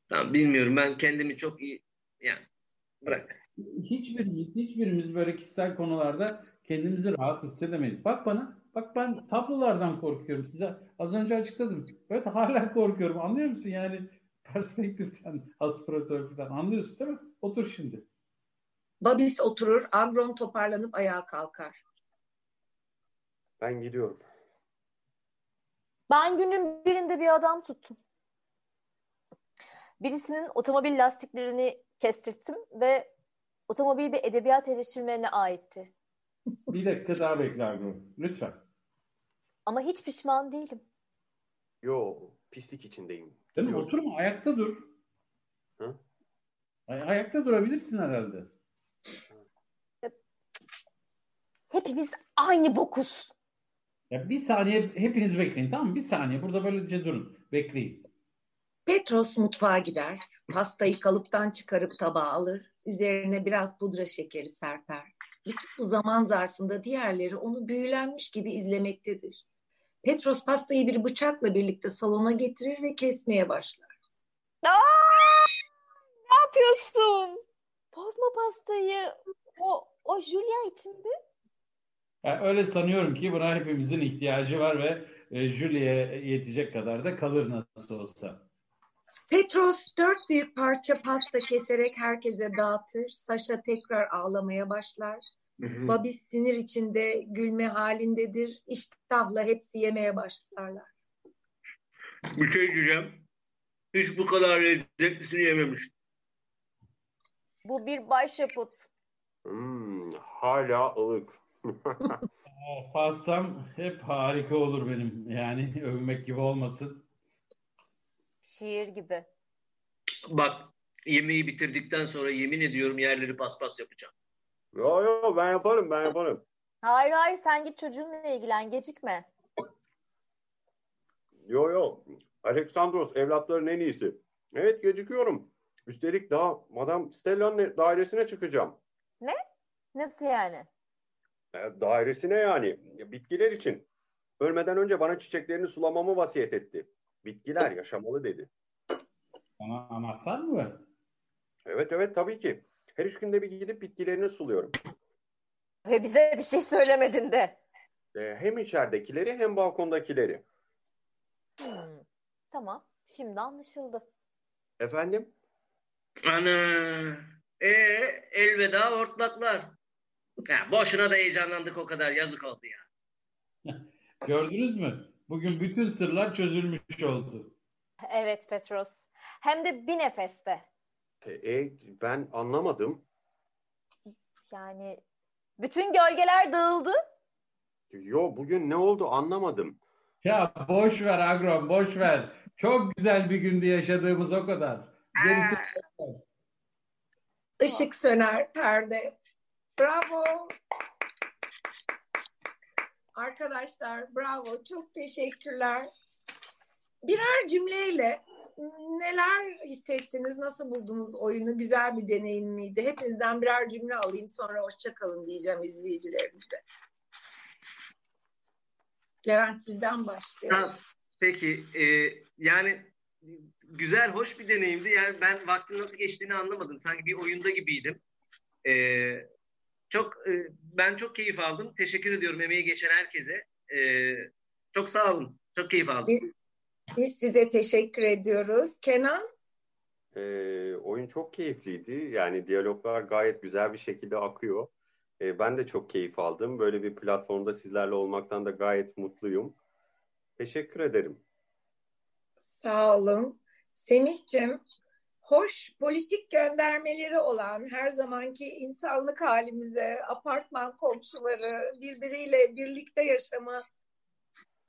S4: Tamam bilmiyorum ben kendimi çok iyi yani bırak.
S3: Hiçbirimiz, hiçbirimiz böyle kişisel konularda kendimizi rahat hissedemeyiz. Bak bana, bak ben tablolardan korkuyorum. Size az önce açıkladım. Evet hala korkuyorum. Anlıyor musun? Yani perspektiften, aspiratörden anlıyorsun değil mi? Otur şimdi.
S1: Babis oturur, Agron toparlanıp ayağa kalkar.
S2: Ben gidiyorum.
S5: Ben günün birinde bir adam tuttum. Birisinin otomobil lastiklerini kestirttim ve otomobil bir edebiyat eleştirmenine aitti.
S3: Bir dakika daha bekle Argun. Lütfen.
S5: Ama hiç pişman değilim.
S2: Yo, pislik içindeyim.
S3: Değil mi?
S2: Gidiyorum.
S3: Oturma ayakta dur.
S2: Hı?
S3: Ay- ayakta durabilirsin herhalde.
S5: Hepimiz aynı bokuz.
S3: Ya bir saniye hepiniz bekleyin tamam mı? Bir saniye burada böylece durun. Bekleyin.
S1: Petros mutfağa gider. Pastayı kalıptan çıkarıp tabağa alır. Üzerine biraz pudra şekeri serper. Bütün bu zaman zarfında diğerleri onu büyülenmiş gibi izlemektedir. Petros pastayı bir bıçakla birlikte salona getirir ve kesmeye başlar.
S5: Aa! Ne yapıyorsun? Bozma pastayı. O, o Julia içinde.
S3: Ya öyle sanıyorum ki buna hepimizin ihtiyacı var ve e, Julie'ye yetecek kadar da kalır nasıl olsa.
S1: Petros dört büyük parça pasta keserek herkese dağıtır. Saşa tekrar ağlamaya başlar. Babis sinir içinde gülme halindedir. İştahla hepsi yemeye başlarlar.
S4: Bir şey diyeceğim. Hiç bu kadar lezzetlisini yememiştim.
S5: Bu bir başyapıt.
S2: Hmm, hala ılık.
S3: Aa, E, Pastam hep harika olur benim. Yani övmek gibi olmasın.
S5: Şiir gibi.
S4: Bak yemeği bitirdikten sonra yemin ediyorum yerleri paspas yapacağım.
S2: yo yo ben yaparım ben yaparım.
S5: Hayır hayır sen git çocuğunla ilgilen gecikme.
S2: Yo yo. Aleksandros evlatların en iyisi. Evet gecikiyorum. Üstelik daha Madame Stella'nın dairesine çıkacağım.
S5: Nasıl yani?
S2: E, Dairesine yani. E, Bitkiler için. Ölmeden önce bana çiçeklerini sulamamı vasiyet etti. Bitkiler yaşamalı dedi.
S3: Sana anahtar mı var?
S2: Evet evet tabii ki. Her üç günde bir gidip bitkilerini suluyorum.
S5: Ve bize bir şey söylemedin de.
S2: E, hem içeridekileri hem balkondakileri.
S5: Hmm, Tamam. Şimdi anlaşıldı.
S2: Efendim?
S4: Ana. E elveda hortlaklar. Ya, boşuna da heyecanlandık o kadar yazık oldu ya.
S3: Gördünüz mü? Bugün bütün sırlar çözülmüş oldu.
S5: Evet Petros. Hem de bir nefeste.
S2: E, e, ben anlamadım.
S5: Yani bütün gölgeler dağıldı.
S2: Yo bugün ne oldu anlamadım.
S3: Ya boş ver Agron, boş ver. Çok güzel bir gündü yaşadığımız o kadar. Gerisi
S1: Işık söner, perde. Bravo. Arkadaşlar bravo. Çok teşekkürler. Birer cümleyle neler hissettiniz, nasıl buldunuz oyunu? Güzel bir deneyim miydi? Hepinizden birer cümle alayım sonra hoşça kalın diyeceğim izleyicilerimize. Levent sizden başlayalım.
S4: Ha, Peki e, yani güzel hoş bir deneyimdi. Yani ben vaktin nasıl geçtiğini anlamadım. Sanki bir oyunda gibiydim. E, çok e, ben çok keyif aldım. Teşekkür ediyorum emeği geçen herkese. E, çok sağ olun. Çok keyif aldım.
S1: Biz size teşekkür ediyoruz. Kenan?
S2: E, oyun çok keyifliydi. Yani diyaloglar gayet güzel bir şekilde akıyor. E, ben de çok keyif aldım. Böyle bir platformda sizlerle olmaktan da gayet mutluyum. Teşekkür ederim.
S1: Sağ olun. Semih'cim, hoş politik göndermeleri olan her zamanki insanlık halimize, apartman komşuları, birbiriyle birlikte yaşama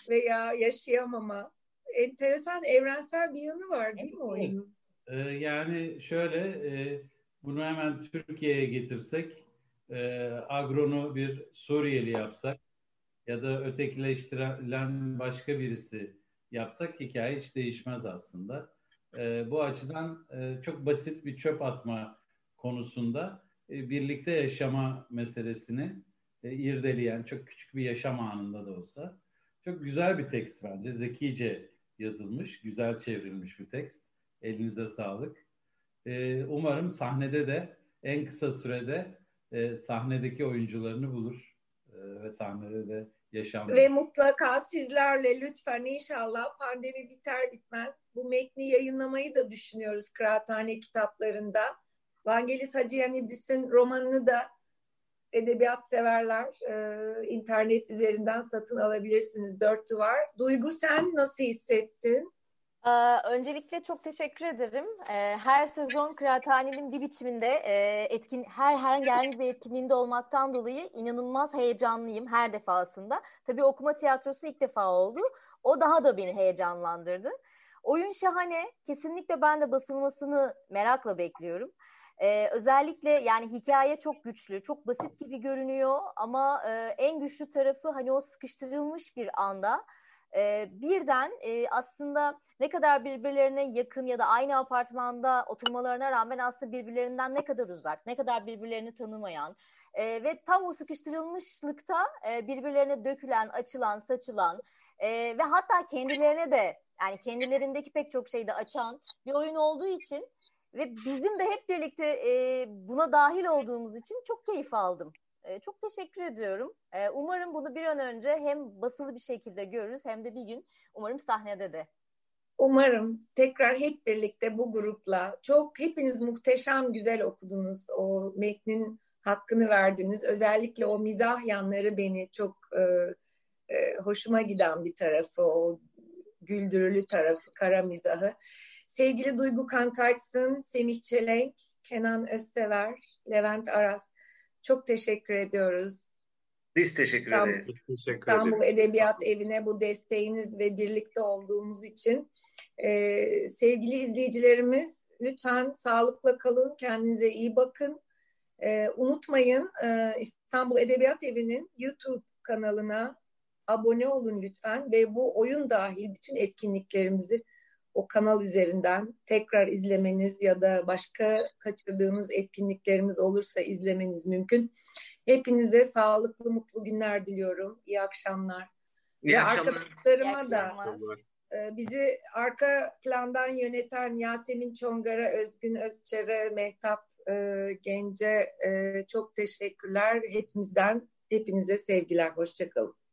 S1: veya yaşayamama enteresan evrensel bir yanı var değil mi oyunun?
S3: Ee, Yani şöyle, e, bunu hemen Türkiye'ye getirsek, e, Agron'u bir Suriyeli yapsak ya da ötekileştirilen başka birisi yapsak hikaye hiç değişmez aslında. E, Bu açıdan e, çok basit bir çöp atma konusunda e, birlikte yaşama meselesini e, irdeleyen çok küçük bir yaşam anında da olsa çok güzel bir tekst bence. Zekice yazılmış. Güzel çevrilmiş bir tekst. Elinize sağlık. E, umarım sahnede de en kısa sürede e, sahnedeki oyuncularını bulur e, ve sahnede de yaşam.
S1: Ve mutlaka sizlerle lütfen inşallah pandemi biter bitmez bu metni yayınlamayı da düşünüyoruz Kıraathane kitaplarında. Vangelis Hacıyanidis'in romanını da edebiyat severler e, internet üzerinden satın alabilirsiniz. Dört duvar. Duygu sen nasıl hissettin?
S5: Ee, öncelikle çok teşekkür ederim. Ee, her sezon Kıraathane'nin bir biçiminde e, etkin her herhangi bir etkinliğinde olmaktan dolayı inanılmaz heyecanlıyım her defasında. Tabii okuma tiyatrosu ilk defa oldu. O daha da beni heyecanlandırdı. Oyun şahane. Kesinlikle ben de basılmasını merakla bekliyorum. Ee, özellikle yani hikaye çok güçlü, çok basit gibi görünüyor ama e, en güçlü tarafı hani o sıkıştırılmış bir anda e, birden e, aslında ne kadar birbirlerine yakın ya da aynı apartmanda oturmalarına rağmen aslında birbirlerinden ne kadar uzak, ne kadar birbirlerini tanımayan e, ve tam o sıkıştırılmışlıkta e, birbirlerine dökülen, açılan, saçılan e, ve hatta kendilerine de yani kendilerindeki pek çok şeyi de açan bir oyun olduğu için ve bizim de hep birlikte e, buna dahil olduğumuz için çok keyif aldım. E, çok teşekkür ediyorum. E, umarım bunu bir an önce hem basılı bir şekilde görürüz hem de bir gün umarım sahnede de.
S1: Umarım tekrar hep birlikte bu grupla çok hepiniz muhteşem güzel okudunuz. O metnin hakkını verdiniz. Özellikle o mizah yanları beni çok e, e, hoşuma giden bir tarafı o güldürülü tarafı kara mizahı. Sevgili Duygu Kankaçsın, Semih Çelenk, Kenan Özsever, Levent Aras. Çok teşekkür ediyoruz.
S4: Biz teşekkür
S1: İstanbul-
S4: ederiz.
S2: Biz teşekkür
S1: İstanbul
S2: ederiz.
S1: Edebiyat Evi'ne bu desteğiniz ve birlikte olduğumuz için. Ee, sevgili izleyicilerimiz lütfen sağlıkla kalın, kendinize iyi bakın. Ee, unutmayın e, İstanbul Edebiyat Evi'nin YouTube kanalına abone olun lütfen ve bu oyun dahil bütün etkinliklerimizi o kanal üzerinden tekrar izlemeniz ya da başka kaçırdığımız etkinliklerimiz olursa izlemeniz mümkün. Hepinize sağlıklı, mutlu günler diliyorum. İyi akşamlar.
S4: İyi
S1: Ve
S4: akşamlar.
S5: İyi
S1: arkadaşlarıma da
S5: akşamlar.
S1: e, bizi arka plandan yöneten Yasemin Çongara, Özgün Özçar'a, Mehtap e, Gence e, çok teşekkürler. Hepimizden, hepinize sevgiler. Hoşçakalın.